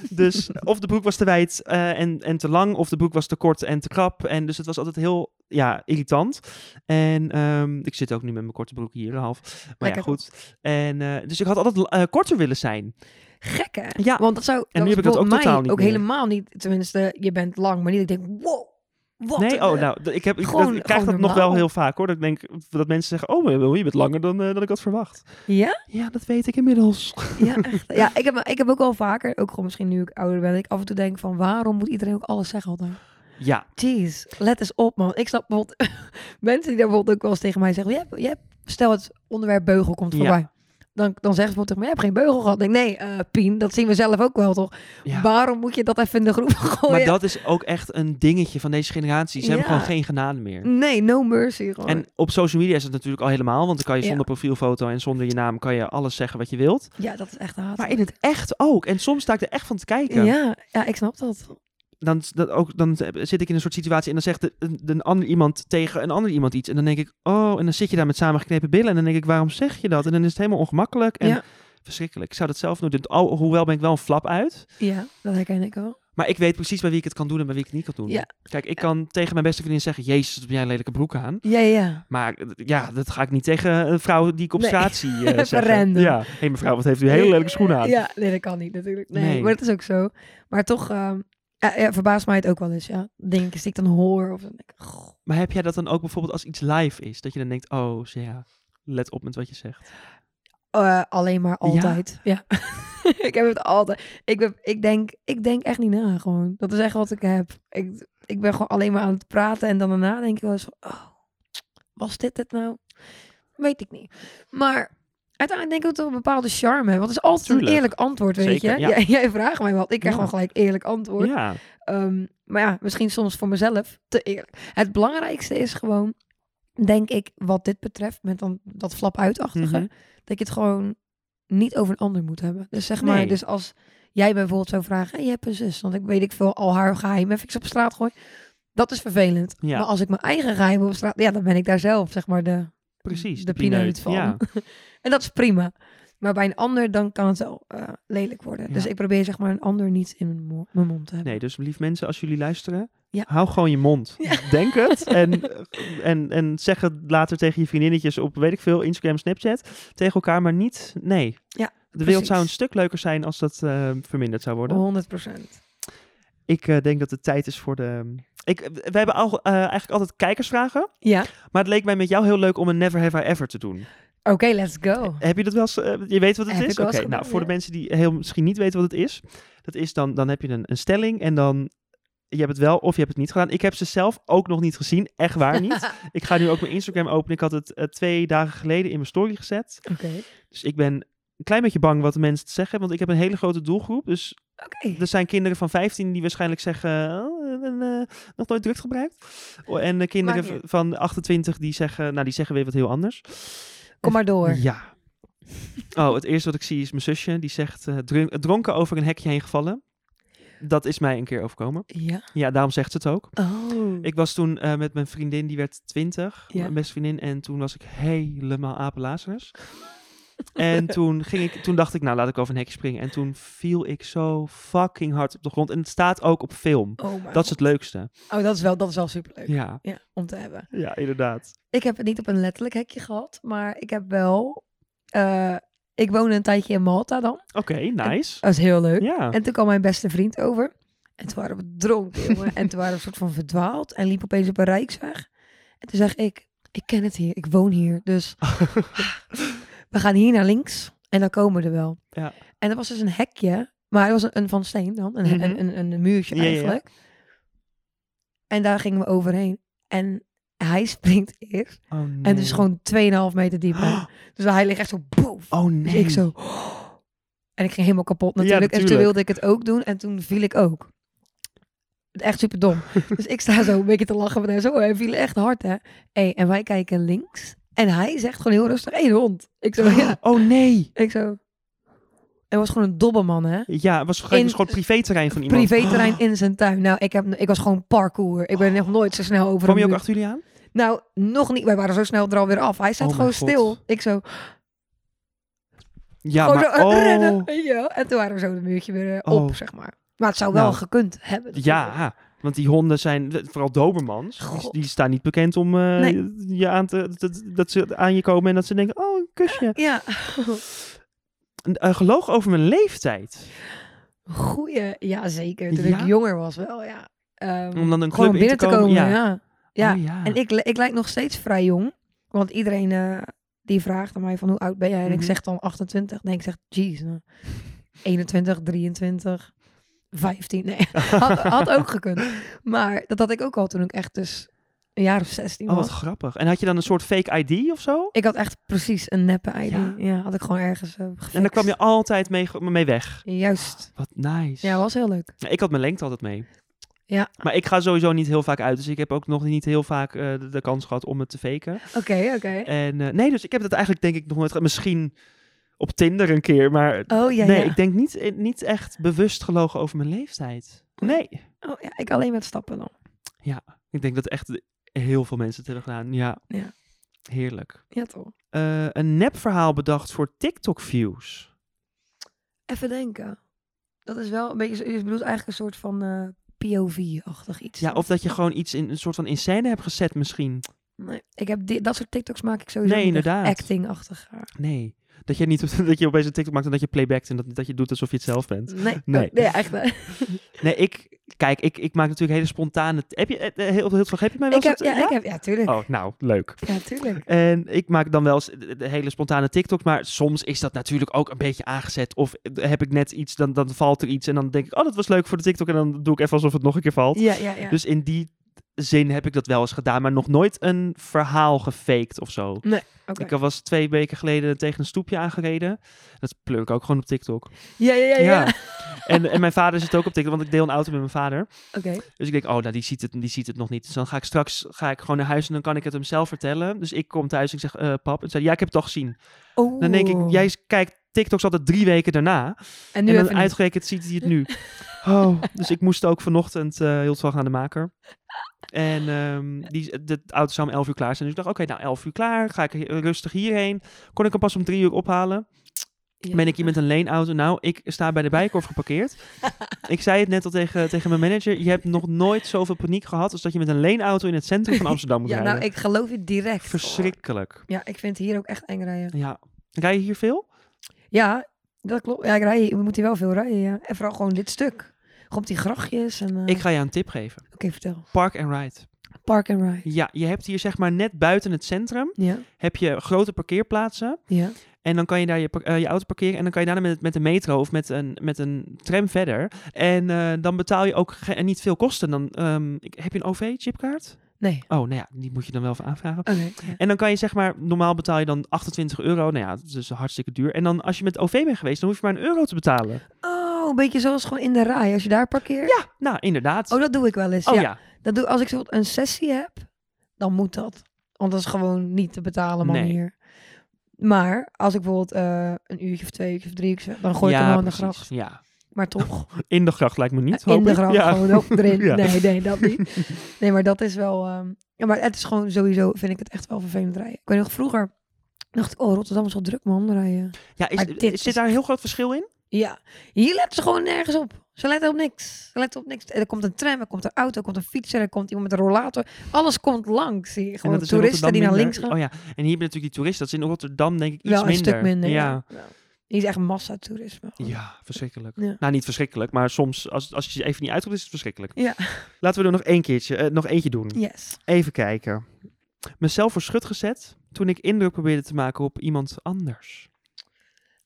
Speaker 1: dus of de broek was te wijd eh, en, en te lang, of de broek was te kort en te krap. En dus het was altijd heel ja, irritant. En ehm, ik zit ook nu met mijn korte broek hier, half. Maar
Speaker 2: Lekker.
Speaker 1: ja, goed. En, eh, dus ik had altijd eh, korter willen zijn.
Speaker 2: Gek hè?
Speaker 1: Ja.
Speaker 2: Want dat zou.
Speaker 1: nu
Speaker 2: was
Speaker 1: heb ik dat ook
Speaker 2: bijvoorbeeld mij
Speaker 1: totaal niet
Speaker 2: Ook
Speaker 1: meer.
Speaker 2: helemaal niet. Tenminste, je bent lang, maar niet. dat Ik denk, wow, Wat
Speaker 1: nee,
Speaker 2: een,
Speaker 1: oh,
Speaker 2: eh,
Speaker 1: nou, d- ik, heb, ik,
Speaker 2: gewoon-
Speaker 1: dat- ik krijg
Speaker 2: gewoon
Speaker 1: dat nog wel
Speaker 2: normaal.
Speaker 1: heel vaak hoor. Dat ik denk dat mensen zeggen: Oh, Wil, je bent langer dan, eh, dan ik had verwacht.
Speaker 2: Ja?
Speaker 1: Ja, dat weet ik
Speaker 2: (laughs)
Speaker 1: inmiddels.
Speaker 2: Ja, echt. ja ik, heb, ik heb ook wel vaker, ook gewoon misschien nu ik ouder ben, dat ik af en toe denk van waarom moet iedereen ook alles zeggen altijd?
Speaker 1: Ja,
Speaker 2: Jeez, let eens op man. Ik snap bijvoorbeeld (laughs) mensen die daar bijvoorbeeld ook wel eens tegen mij zeggen, je hebt, je hebt, stel het onderwerp beugel komt
Speaker 1: Ja.
Speaker 2: voorbij. Dan, dan zeggen ze bijvoorbeeld tegen mij, je hebt geen beugel gehad. Ik denk, nee, eh, Pien, dat zien we zelf ook wel toch?
Speaker 1: ja.
Speaker 2: Waarom moet je dat even in de groep (laughs) gooien?
Speaker 1: maar dat is ook echt een dingetje van deze generatie. Ze hebben
Speaker 2: Ja.
Speaker 1: gewoon geen genade meer.
Speaker 2: Nee, no mercy gewoon.
Speaker 1: En op social media is het natuurlijk al helemaal, want dan kan je
Speaker 2: Ja.
Speaker 1: zonder profielfoto en zonder je naam kan je alles zeggen wat je wilt.
Speaker 2: ja, dat is echt haat.
Speaker 1: Maar in het echt ook. En soms sta ik er echt van te kijken.
Speaker 2: ja, ja, ik snap dat.
Speaker 1: Dan, dat ook, dan zit ik in een soort situatie en dan zegt de, een- een ander iemand tegen een ander iemand iets. En dan denk ik, oh, en dan zit je daar met samengeknepen billen. En dan denk ik, waarom zeg je dat? En dan is het helemaal ongemakkelijk en
Speaker 2: Ja.
Speaker 1: verschrikkelijk. Ik zou dat zelf nooit doen. Oh, hoewel ben ik wel een flap uit.
Speaker 2: Ja, dat herken ik wel.
Speaker 1: Maar ik weet precies bij wie ik het kan doen en bij wie ik het niet kan doen.
Speaker 2: Ja.
Speaker 1: Kijk, ik kan tegen mijn beste vriendin zeggen, jezus, wat heb jij een lelijke broek aan.
Speaker 2: Ja, ja.
Speaker 1: Maar eh, ja, dat ga ik niet tegen een vrouw die ik op
Speaker 2: Nee.
Speaker 1: straat zie
Speaker 2: (laughs)
Speaker 1: eh,
Speaker 2: Even
Speaker 1: zeggen.
Speaker 2: random.
Speaker 1: Ja, hé hey, mevrouw, wat heeft u hele lelijke schoenen aan.
Speaker 2: Ja, nee, dat kan niet natuurlijk. Nee,
Speaker 1: Nee.
Speaker 2: maar dat is ook zo. Maar toch ehm, ja, ja, verbaast mij het ook wel eens, ja. Dingetjes die ik dan hoor. Of dan denk ik, goh.
Speaker 1: Maar heb jij dat dan ook bijvoorbeeld als iets live is? Dat je dan denkt, oh zo ja, let op met wat je zegt.
Speaker 2: Eh, alleen maar altijd. Ja. (laughs) ik heb het altijd. Ik, ben, ik, denk, ik denk echt niet na gewoon. Dat is echt wat ik heb. Ik, ik ben gewoon alleen maar aan het praten. En dan daarna denk ik wel eens van... Oh, was dit het nou? Weet ik niet. Maar uiteindelijk denk ik dat we een bepaalde charme hebben. Want het is altijd
Speaker 1: Tuurlijk.
Speaker 2: een eerlijk antwoord, weet
Speaker 1: Zeker,
Speaker 2: je.
Speaker 1: ja.
Speaker 2: Jij, (laughs) jij vraagt mij wat. Ik krijg
Speaker 1: Ja.
Speaker 2: gewoon gelijk eerlijk antwoord.
Speaker 1: Ja,
Speaker 2: Ehm, maar ja, misschien soms voor mezelf te eerlijk. Het belangrijkste is gewoon, denk ik, wat dit betreft, met dan dat flap uitachtige,
Speaker 1: Mhm.
Speaker 2: dat je het gewoon niet over een ander moet hebben. Dus zeg maar,
Speaker 1: Nee.
Speaker 2: dus als jij mij bijvoorbeeld zou vragen, "Hey, je hebt een zus, want ik weet ik veel, al haar geheimen even op straat gooi. Dat is vervelend.
Speaker 1: Ja.
Speaker 2: Maar als ik mijn eigen geheimen op straat, ja, dan ben ik daar zelf, zeg maar, de...
Speaker 1: precies.
Speaker 2: De pineut van.
Speaker 1: Ja.
Speaker 2: En dat is prima. Maar bij een ander, dan kan het wel eh, lelijk worden.
Speaker 1: Ja.
Speaker 2: Dus ik probeer, zeg maar, een ander niet in mijn, mo- mijn mond te hebben.
Speaker 1: Nee, dus lief mensen, als jullie luisteren,
Speaker 2: Ja.
Speaker 1: hou gewoon je mond. Denk
Speaker 2: (laughs)
Speaker 1: het en, eh, en, en zeg het later tegen je vriendinnetjes op, weet ik veel, Instagram, Snapchat. Tegen elkaar, maar niet, nee.
Speaker 2: Ja,
Speaker 1: De wereld
Speaker 2: precies.
Speaker 1: zou een stuk leuker zijn als dat eh, verminderd zou worden.
Speaker 2: 100 procent.
Speaker 1: Ik eh, denk dat het tijd is voor de... ehm, Ik, we hebben al, eh, eigenlijk altijd kijkersvragen.
Speaker 2: Ja.
Speaker 1: Maar het leek mij met jou heel leuk om een Never Have I Ever te doen.
Speaker 2: Oké, let's go.
Speaker 1: Heb je dat wel eens, eh, je weet wat het
Speaker 2: Heb
Speaker 1: is?
Speaker 2: ik wel eens
Speaker 1: nou,
Speaker 2: gedaan,
Speaker 1: voor
Speaker 2: ja.
Speaker 1: de mensen die heel misschien niet weten wat het is. Dat is dan, dan heb je een, een stelling en dan, je hebt het wel of je hebt het niet gedaan. Ik heb ze zelf ook nog niet gezien, echt waar
Speaker 2: (laughs)
Speaker 1: niet. ik ga nu ook mijn Instagram openen. Ik had het eh, twee dagen geleden in mijn story gezet.
Speaker 2: Oké.
Speaker 1: Dus ik ben een klein beetje bang wat de mensen te zeggen, want ik heb een hele grote doelgroep. Dus er zijn kinderen van 15 die waarschijnlijk zeggen, "Oh, ik ben, eh, nog nooit drugs gebruikt. Oh, En eh, kinderen
Speaker 2: Maakt niet
Speaker 1: v- van 28 die zeggen, nou die zeggen weer wat heel anders.
Speaker 2: Kom maar door.
Speaker 1: Ja. Oh, het eerste wat ik zie is mijn zusje. Die zegt, eh, drun- dronken over een hekje heen gevallen. Dat is mij een keer overkomen.
Speaker 2: Ja.
Speaker 1: Ja, daarom zegt ze het ook.
Speaker 2: Oh.
Speaker 1: Ik was toen eh, met mijn vriendin, die werd 20,
Speaker 2: Ja.
Speaker 1: mijn beste vriendin. En toen was ik helemaal apelazerus. en (laughs) toen, ging ik, toen dacht ik, nou laat ik over een hekje springen. En toen viel ik zo fucking hard op de grond. En het staat ook op film.
Speaker 2: Oh, maar
Speaker 1: Dat is het leukste.
Speaker 2: oh, dat is wel, dat is wel superleuk. Ja.
Speaker 1: Ja,
Speaker 2: om te hebben.
Speaker 1: ja inderdaad.
Speaker 2: Ik heb het niet op een letterlijk hekje gehad, maar ik heb wel. eh, ik woonde een tijdje in Malta dan.
Speaker 1: Oké, nice.
Speaker 2: Dat is heel leuk.
Speaker 1: ja.
Speaker 2: En toen kwam mijn beste vriend over. En toen waren we dronken, jongen. en toen waren we een soort van verdwaald. En liep opeens op een rijksweg. En toen zeg ik, ik ken het hier. Ik woon hier.
Speaker 1: (laughs)
Speaker 2: Dus we gaan hier naar links. En dan komen we er wel.
Speaker 1: Ja.
Speaker 2: En er was dus een hekje. Maar het was een, een van steen dan. Een,
Speaker 1: Mhm.
Speaker 2: een, een, een muurtje
Speaker 1: Ja, ja, ja.
Speaker 2: eigenlijk. En daar gingen we overheen. En hij springt eerst.
Speaker 1: Oh,
Speaker 2: En
Speaker 1: nee.
Speaker 2: dus gewoon 2,5 meter diep. hè.
Speaker 1: (gasps)
Speaker 2: Dus hij ligt echt zo boef.
Speaker 1: Oh
Speaker 2: Dus
Speaker 1: nee.
Speaker 2: ik zo. En ik ging helemaal kapot
Speaker 1: Ja,
Speaker 2: natuurlijk. En toen
Speaker 1: natuurlijk.
Speaker 2: wilde ik het ook doen. En toen viel ik ook. Echt super dom.
Speaker 1: (laughs)
Speaker 2: dus ik sta zo een beetje te lachen met hem. Zo, hij viel echt hard, hè. Hey, en wij kijken links. En hij zegt gewoon heel rustig, hé, hey, hond. Ik zo, ja.
Speaker 1: (gasps) (gasps) Oh nee.
Speaker 2: Ik zo. Het was gewoon een dobberman, hè.
Speaker 1: Ja, het was gewoon,
Speaker 2: In-
Speaker 1: het was gewoon privéterrein van iemand.
Speaker 2: Privéterrein in zijn tuin. Nou, ik, heb, ik was gewoon parkour.
Speaker 1: (gasps)
Speaker 2: Ik ben nog nooit zo snel over
Speaker 1: Kwam
Speaker 2: een
Speaker 1: je ook
Speaker 2: muur.
Speaker 1: achter jullie aan?
Speaker 2: Nou, nog niet. Wij waren zo snel er alweer af. Hij staat
Speaker 1: Oh mijn
Speaker 2: gewoon
Speaker 1: God.
Speaker 2: stil. Ik zo,
Speaker 1: Ja,
Speaker 2: gewoon
Speaker 1: maar
Speaker 2: zo eh,
Speaker 1: oh.
Speaker 2: rennen. weet je wel. En toen waren we zo de muurtje weer eh, op,
Speaker 1: Oh.
Speaker 2: zeg maar. Maar het zou wel
Speaker 1: Nou.
Speaker 2: gekund hebben. natuurlijk.
Speaker 1: Ja, want die honden zijn, vooral dobermans, die,
Speaker 2: God.
Speaker 1: die staan niet bekend om eh,
Speaker 2: Nee.
Speaker 1: je aan te, dat, dat ze aan je komen en dat ze denken, oh, een kusje.
Speaker 2: Ja,
Speaker 1: Een eh, geloog over mijn leeftijd.
Speaker 2: goeie. Ja, zeker. Toen
Speaker 1: Ja?
Speaker 2: ik jonger was wel, ja. ehm,
Speaker 1: Om dan een
Speaker 2: gewoon
Speaker 1: club
Speaker 2: om
Speaker 1: in te
Speaker 2: binnen te
Speaker 1: komen.
Speaker 2: komen.
Speaker 1: ja.
Speaker 2: ja. Ja,
Speaker 1: Oh, ja.
Speaker 2: En ik, ik lijk nog steeds vrij jong. Want iedereen eh, die vraagt aan mij van hoe oud ben jij? En
Speaker 1: Mhm.
Speaker 2: ik zeg dan 28. Nee, ik zeg, jeez. nou, 21, 23, 15. Nee, (laughs) had, had ook gekund. Maar dat had ik ook al toen ik echt dus een jaar of 16
Speaker 1: Oh,
Speaker 2: was.
Speaker 1: wat grappig. En had je dan een soort fake ID of zo?
Speaker 2: ik had echt precies een neppe ID.
Speaker 1: Ja.
Speaker 2: Ja, had ik gewoon ergens eh gefixt.
Speaker 1: En daar kwam je altijd mee, ge- mee weg.
Speaker 2: Juist.
Speaker 1: Wat nice.
Speaker 2: Ja, was heel leuk.
Speaker 1: Ik had mijn lengte altijd mee.
Speaker 2: Ja.
Speaker 1: Maar ik ga sowieso niet heel vaak uit. Dus ik heb ook nog niet heel vaak eh, de, de kans gehad om het te faken.
Speaker 2: Oké, oké.
Speaker 1: En eh, nee, dus ik heb dat eigenlijk denk ik nog nooit gehad. Misschien op Tinder een keer. Maar
Speaker 2: Oh ja,
Speaker 1: nee,
Speaker 2: ja.
Speaker 1: ik denk niet, eh, niet echt bewust gelogen over mijn leeftijd. Nee.
Speaker 2: Oh, ja. Ik alleen met stappen dan.
Speaker 1: Ik denk dat echt heel veel mensen het hebben gedaan. Ja.
Speaker 2: Ja.
Speaker 1: Heerlijk.
Speaker 2: Ja, toch.
Speaker 1: Eh, een nepverhaal bedacht voor TikTok-views.
Speaker 2: Even denken. Dat is wel een beetje, zo- je bedoelt eigenlijk een soort van eh, POV-achtig iets.
Speaker 1: Ja, of dat je gewoon iets in een soort van in scène hebt gezet misschien.
Speaker 2: Nee, ik heb di- dat soort TikToks maak ik sowieso
Speaker 1: Nee,
Speaker 2: niet echt
Speaker 1: inderdaad.
Speaker 2: acting-achtig. eh, (laughs)
Speaker 1: Nee. Dat je niet (laughs) dat je opeens een TikTok maakt en dat je playbackt en dat, dat je doet alsof je het zelf bent.
Speaker 2: Nee,
Speaker 1: Nee.
Speaker 2: nee. echt. eh.
Speaker 1: Nee, ik kijk, ik, ik maak natuurlijk hele spontane. Heb je eh, heel, heel veel? Heb je mij wel
Speaker 2: ik heb,
Speaker 1: eens
Speaker 2: ja,
Speaker 1: dat-
Speaker 2: ik heb, ja, tuurlijk.
Speaker 1: Oh, nou, leuk.
Speaker 2: Ja, tuurlijk.
Speaker 1: En ik maak dan wel eens de de hele spontane TikTok, maar soms is dat natuurlijk ook een beetje aangezet. Of eh, heb ik net iets, dan, dan valt er iets en dan denk ik, oh, dat was leuk voor de TikTok. En dan doe ik even alsof het nog een keer valt.
Speaker 2: Ja, ja, ja.
Speaker 1: Dus in die zin heb ik dat wel eens gedaan, maar nog nooit een verhaal gefaked of zo.
Speaker 2: Oké.
Speaker 1: Ik was twee weken geleden tegen een stoepje aangereden. Dat pleur ik ook gewoon op TikTok.
Speaker 2: ja, ja, ja, ja.
Speaker 1: Ja. En, en mijn vader zit ook op TikTok, want ik deel een auto met mijn vader.
Speaker 2: Oké.
Speaker 1: Dus ik denk, oh, nou, die ziet het, die ziet het nog niet. Dus dan ga ik straks ga ik gewoon naar huis en dan kan ik het hem zelf vertellen. Dus ik kom thuis en ik zeg, eh, pap. En zei, ja, ik heb het al gezien.
Speaker 2: Oh.
Speaker 1: Dan denk ik, jij kijkt TikToks altijd drie weken daarna.
Speaker 2: En nu
Speaker 1: en
Speaker 2: even
Speaker 1: dan
Speaker 2: niet.
Speaker 1: uitgerekend ziet hij het
Speaker 2: (laughs)
Speaker 1: nu. Oh, dus ik moest ook vanochtend eh, heel veel gaan aan de maker. En ehm, die, de auto zou om 11 uur klaar zijn. Dus ik dacht, oké, nou 11 uur klaar. Ga ik hier- rustig hierheen. Kon ik hem pas om drie uur ophalen.
Speaker 2: Ja.
Speaker 1: Ben ik hier met een leenauto? Nou, ik sta bij de bijkorf geparkeerd.
Speaker 2: (laughs)
Speaker 1: ik zei het net al tegen, tegen mijn manager. Je hebt nog nooit zoveel paniek gehad als dat je met een leenauto in het centrum
Speaker 2: (laughs)
Speaker 1: van Amsterdam moet
Speaker 2: Ja,
Speaker 1: rijden.
Speaker 2: nou, ik geloof je direct. hoor.
Speaker 1: Verschrikkelijk.
Speaker 2: Ja, ik vind hier ook echt eng rijden.
Speaker 1: Ja. Rij je hier veel?
Speaker 2: Ja, dat klopt. Ja, ik rij, we moeten hier wel veel rijden, ja. En vooral gewoon dit stuk. Gewoon op die grachtjes en... eh,
Speaker 1: Ik ga je een tip geven.
Speaker 2: Oké, vertel.
Speaker 1: Park and ride.
Speaker 2: Park and ride.
Speaker 1: Ja, je hebt hier zeg maar net buiten het centrum.
Speaker 2: Ja,
Speaker 1: heb je grote parkeerplaatsen.
Speaker 2: ja.
Speaker 1: En dan kan je daar je, par- eh, je auto parkeren. En dan kan je daarna met, met de metro of met een, met een tram verder. En eh, dan betaal je ook ge- en niet veel kosten. Dan, ehm, ik- heb je een OV-chipkaart?
Speaker 2: Nee.
Speaker 1: Oh, nou ja, die moet je dan wel even aanvragen.
Speaker 2: Oké. ja.
Speaker 1: En dan kan je zeg maar, normaal betaal je dan 28 euro. Nou ja, dat is dus hartstikke duur. En dan als je met OV bent geweest, dan hoef je maar een euro te betalen.
Speaker 2: Oh, een beetje zoals gewoon in de rij. Als je daar parkeert.
Speaker 1: Ja, nou inderdaad.
Speaker 2: Oh, dat doe ik wel eens.
Speaker 1: Oh,
Speaker 2: ja.
Speaker 1: ja.
Speaker 2: Dat doe, als ik bijvoorbeeld een sessie heb, dan moet dat. Want dat is gewoon niet te betalen
Speaker 1: Nee.
Speaker 2: manier. Maar als ik bijvoorbeeld eh, een uurtje of twee uurtjes of drie uurtjes, dan gooi ik
Speaker 1: Ja,
Speaker 2: hem wel in de
Speaker 1: precies.
Speaker 2: gracht.
Speaker 1: Ja.
Speaker 2: Maar toch,
Speaker 1: In de gracht lijkt me niet.
Speaker 2: in
Speaker 1: hoop
Speaker 2: de
Speaker 1: ik.
Speaker 2: gracht,
Speaker 1: Ja. (laughs)
Speaker 2: gewoon ook erin.
Speaker 1: Ja.
Speaker 2: Nee, nee, dat niet. Nee, maar dat is wel... ehm, ja, maar het is gewoon sowieso, vind ik het echt wel vervelend rijden. Ik weet nog, vroeger dacht ik, oh, Rotterdam is wel druk, man, rijden.
Speaker 1: Ja, is,
Speaker 2: Maar dit
Speaker 1: zit
Speaker 2: is-
Speaker 1: daar een heel groot verschil in?
Speaker 2: Ja, hier letten ze gewoon nergens op. Ze letten op niks. Ze letten op niks. Er komt een tram, er komt een auto, er komt een fietser, er komt iemand met een rollator. Alles komt langs. Zie je. Gewoon
Speaker 1: is in
Speaker 2: toeristen die
Speaker 1: Rotterdam
Speaker 2: naar links
Speaker 1: minder.
Speaker 2: gaan.
Speaker 1: Oh ja, en hier heb je natuurlijk die toeristen. Dat is in Rotterdam denk ik iets
Speaker 2: Wel een
Speaker 1: minder.
Speaker 2: stuk minder. Ja. Ja. Hier is echt massatoerisme.
Speaker 1: Ja, verschrikkelijk.
Speaker 2: Ja.
Speaker 1: Nou, niet verschrikkelijk, maar soms als, als je je even niet uitkomt, is het verschrikkelijk.
Speaker 2: Ja.
Speaker 1: Laten we er nog één keertje, eh, nog eentje doen.
Speaker 2: Yes.
Speaker 1: Even kijken. Mezelf voor schut gezet toen ik indruk probeerde te maken op iemand anders.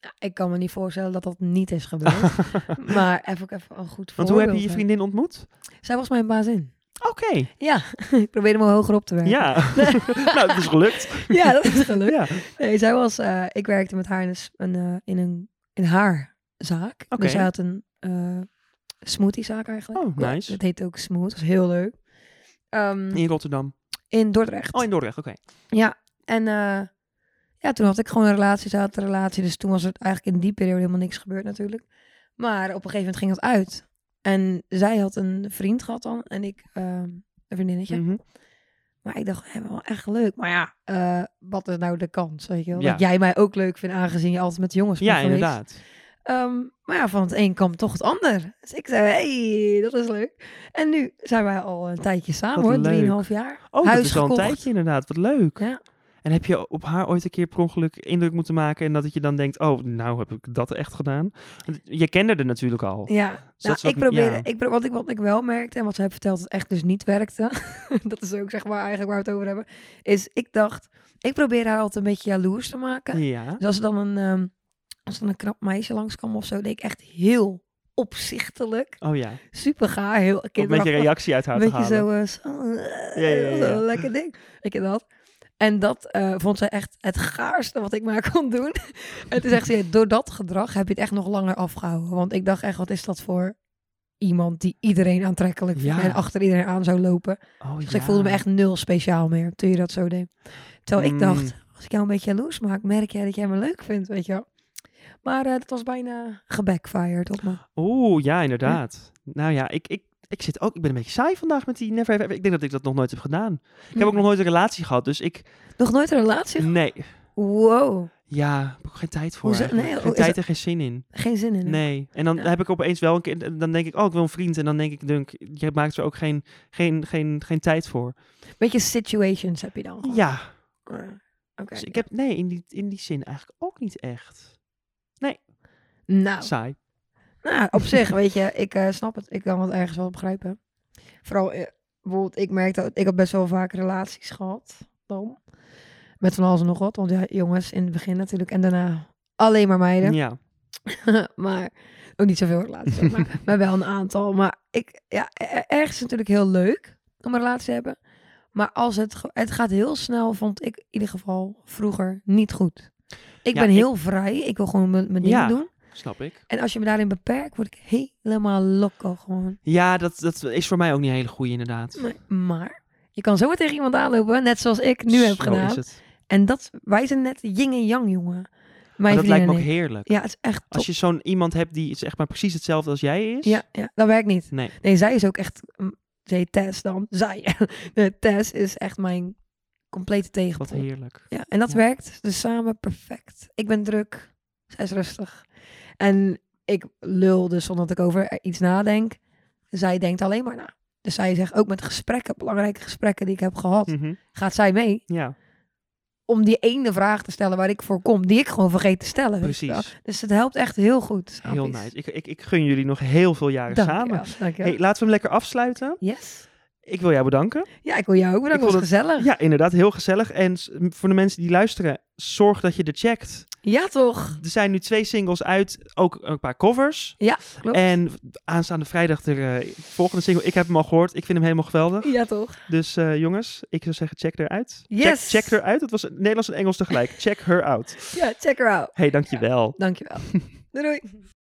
Speaker 2: Nou, ik kan me niet voorstellen dat dat niet is gebeurd.
Speaker 1: (laughs)
Speaker 2: maar even ook even een goed voorbeeld.
Speaker 1: Want hoe heb je je
Speaker 2: hè.
Speaker 1: vriendin ontmoet?
Speaker 2: Zij was mijn bazin.
Speaker 1: Oké,
Speaker 2: Ja, (laughs) ik probeerde me hoger op te werken.
Speaker 1: ja. (laughs) nou, het is gelukt.
Speaker 2: (laughs) Ja, dat is gelukt.
Speaker 1: Ja.
Speaker 2: Nee, zij was, eh, ik werkte met haar in een, s- een, eh, in een in haar zaak.
Speaker 1: Oké.
Speaker 2: Dus zij had een eh smoothiezaak eigenlijk.
Speaker 1: Oh,
Speaker 2: Ja,
Speaker 1: nice.
Speaker 2: Dat heette ook Smooth, dat was heel leuk. Ehm,
Speaker 1: In Rotterdam.
Speaker 2: in Dordrecht.
Speaker 1: Oh, in Dordrecht, oké.
Speaker 2: Ja, en eh, ja, toen had ik gewoon een relatie, zij had een relatie. Dus toen was er eigenlijk in die periode helemaal niks gebeurd natuurlijk. Maar op een gegeven moment ging dat uit. En zij had een vriend gehad dan en ik ehm, een vriendinnetje.
Speaker 1: Mhm.
Speaker 2: Maar ik dacht, hé, wel echt leuk. Maar ja, eh, wat is nou de kans, weet je wel?
Speaker 1: Ja.
Speaker 2: Dat jij mij ook leuk vindt, aangezien je altijd met jongens bent
Speaker 1: Ja,
Speaker 2: geweest.
Speaker 1: inderdaad.
Speaker 2: Ehm, maar ja, van het een kwam toch het ander. Dus ik zei, hey, dat is leuk. En nu zijn wij al een tijdje samen,
Speaker 1: Wat
Speaker 2: hoor.
Speaker 1: leuk.
Speaker 2: Drieënhalf jaar.
Speaker 1: Oh, dat
Speaker 2: Huis
Speaker 1: is al een
Speaker 2: gekocht.
Speaker 1: tijdje inderdaad. Wat leuk.
Speaker 2: Ja.
Speaker 1: En heb je op haar ooit een keer per ongeluk indruk moeten maken en dat het je dan denkt, oh, nou heb ik dat echt gedaan? Want je kende haar natuurlijk al.
Speaker 2: Ja,
Speaker 1: dat
Speaker 2: nou,
Speaker 1: is wat
Speaker 2: ik
Speaker 1: m-
Speaker 2: probeerde,
Speaker 1: ja.
Speaker 2: ik, pro- wat, ik, wat ik wel merkte en wat ze hebben verteld dat echt dus niet werkte, (laughs) dat is ook zeg maar eigenlijk waar we het over hebben, is ik dacht, ik probeer haar altijd een beetje jaloers te maken.
Speaker 1: Ja.
Speaker 2: Dus als er dan een, ehm, als er dan een knap meisje langskwam of zo, deed ik echt heel opzichtelijk,
Speaker 1: Oh ja.
Speaker 2: super gaar, heel
Speaker 1: Om een beetje
Speaker 2: kinderachtig.
Speaker 1: reactie uit haar
Speaker 2: Een
Speaker 1: te
Speaker 2: beetje
Speaker 1: halen.
Speaker 2: zo, eh, zo, eh,
Speaker 1: Ja, ja, ja, ja.
Speaker 2: zo lekker ding. Ik heb dat. En dat eh, vond zij echt het gaarste wat ik maar kon doen. (laughs) en toen zegt ze, ja, door dat gedrag heb je het echt nog langer afgehouden. Want ik dacht echt, wat is dat voor iemand die iedereen aantrekkelijk vindt
Speaker 1: Ja.
Speaker 2: en achter iedereen aan zou lopen.
Speaker 1: Oh,
Speaker 2: Dus
Speaker 1: ja.
Speaker 2: ik voelde me echt nul speciaal meer toen je dat zo deed. Terwijl ik dacht,
Speaker 1: Mm.
Speaker 2: als ik jou een beetje jaloers maak, merk jij dat jij me leuk vindt, weet je wel. Maar eh, dat was bijna gebackfired op me.
Speaker 1: Oeh, ja, inderdaad. Nou ja, ik, ik, ik zit ook. Ik ben een beetje saai vandaag met die Never Have Ever. Ik denk dat ik dat nog nooit heb gedaan. Ik
Speaker 2: Hm.
Speaker 1: heb ook nog nooit een relatie gehad, dus ik.
Speaker 2: Mm. Nog nooit een relatie?
Speaker 1: Nee.
Speaker 2: Wow.
Speaker 1: Ja, daar heb ik ook geen tijd voor.
Speaker 2: Hoezo?
Speaker 1: eigenlijk.
Speaker 2: Nee,
Speaker 1: geen
Speaker 2: hoe is
Speaker 1: tijd en geen zin in.
Speaker 2: Geen zin in. hè?
Speaker 1: Nee. En dan
Speaker 2: Ja.
Speaker 1: heb ik opeens wel een keer. Dan denk ik, oh, ik wil een vriend. En dan denk ik, Dunk, je maakt er ook geen, geen, geen, geen tijd voor.
Speaker 2: Beetje situations heb je dan. gehad.
Speaker 1: Ja.
Speaker 2: Ah, Oké.
Speaker 1: Dus ik
Speaker 2: ja.
Speaker 1: heb. Nee, in die, in die zin eigenlijk ook niet echt.
Speaker 2: Nou,
Speaker 1: Saai.
Speaker 2: nou, op zich, weet je, ik eh, snap het. Ik kan het ergens wel begrijpen. Vooral, eh, bijvoorbeeld, ik merk dat ik heb best wel vaak relaties gehad. Dan. Met van alles en nog wat. Want ja, jongens, in het begin natuurlijk. En daarna alleen maar meiden.
Speaker 1: Ja.
Speaker 2: (laughs) maar ook niet zoveel
Speaker 1: (laughs)
Speaker 2: relaties, hoor, maar, maar wel een aantal. Maar ik, ja, er- ergens is het natuurlijk heel leuk om een relatie te hebben. Maar als het, ge- het gaat heel snel, vond ik in ieder geval vroeger niet goed. Ik
Speaker 1: Ja,
Speaker 2: ben
Speaker 1: ik-
Speaker 2: heel vrij. Ik wil gewoon mijn mijn ding
Speaker 1: Ja.
Speaker 2: doen.
Speaker 1: Snap ik.
Speaker 2: En als je me daarin beperkt, word ik helemaal loco gewoon.
Speaker 1: Ja, dat, dat is voor mij ook niet een hele goede, inderdaad.
Speaker 2: Nee, Maar je kan zomaar tegen iemand aanlopen, net zoals ik nu heb
Speaker 1: Zo
Speaker 2: gedaan.
Speaker 1: Is het.
Speaker 2: En dat, wij zijn net yin en yang, jongen. Mijn
Speaker 1: Maar dat lijkt me ook
Speaker 2: vriendin en ik.
Speaker 1: heerlijk.
Speaker 2: Ja, het is echt top.
Speaker 1: Als je zo'n iemand hebt die zeg maar precies hetzelfde als jij is.
Speaker 2: Ja, ja, dat werkt niet.
Speaker 1: Nee.
Speaker 2: Nee, zij is ook echt. mm, Ze heet Tess dan. Zij. (laughs) Nee, Tess is echt mijn complete
Speaker 1: Wat
Speaker 2: tegenpool.
Speaker 1: heerlijk.
Speaker 2: Ja, en dat
Speaker 1: Ja.
Speaker 2: werkt dus samen perfect. Ik ben druk. Zij is rustig. En ik lul dus omdat ik over iets nadenk. Zij denkt alleen maar na. Dus zij zegt ook met gesprekken, belangrijke gesprekken die ik heb gehad,
Speaker 1: Mhm.
Speaker 2: gaat zij mee
Speaker 1: Ja,
Speaker 2: om die ene vraag te stellen waar ik voor kom, die ik gewoon vergeet te stellen. weet je wel.
Speaker 1: precies.
Speaker 2: Dus het helpt echt heel goed. snap
Speaker 1: Heel
Speaker 2: je?
Speaker 1: nice. Ik, ik, ik gun jullie nog heel veel jaren
Speaker 2: Dank je
Speaker 1: samen.
Speaker 2: wel, Dank je wel.
Speaker 1: Hey, laten we hem lekker afsluiten.
Speaker 2: Yes.
Speaker 1: Ik wil jou bedanken.
Speaker 2: Ja, ik wil jou ook bedanken.
Speaker 1: Ik
Speaker 2: Het
Speaker 1: vond
Speaker 2: was gezellig.
Speaker 1: Ja, inderdaad, heel gezellig. En s- m- voor de mensen die luisteren, zorg dat je er checkt.
Speaker 2: Ja, toch?
Speaker 1: Er zijn nu twee singles uit, ook een paar covers.
Speaker 2: Ja, klopt.
Speaker 1: En aanstaande vrijdag de eh, volgende single. Ik heb hem al gehoord. Ik vind hem helemaal geweldig.
Speaker 2: Ja, toch?
Speaker 1: Dus eh, jongens, ik zou zeggen, check eruit.
Speaker 2: Yes.
Speaker 1: Check, check eruit. Het was Nederlands en Engels tegelijk. Check her out.
Speaker 2: Ja, check her out.
Speaker 1: Hey, dankjewel.
Speaker 2: Dankjewel. doei doei.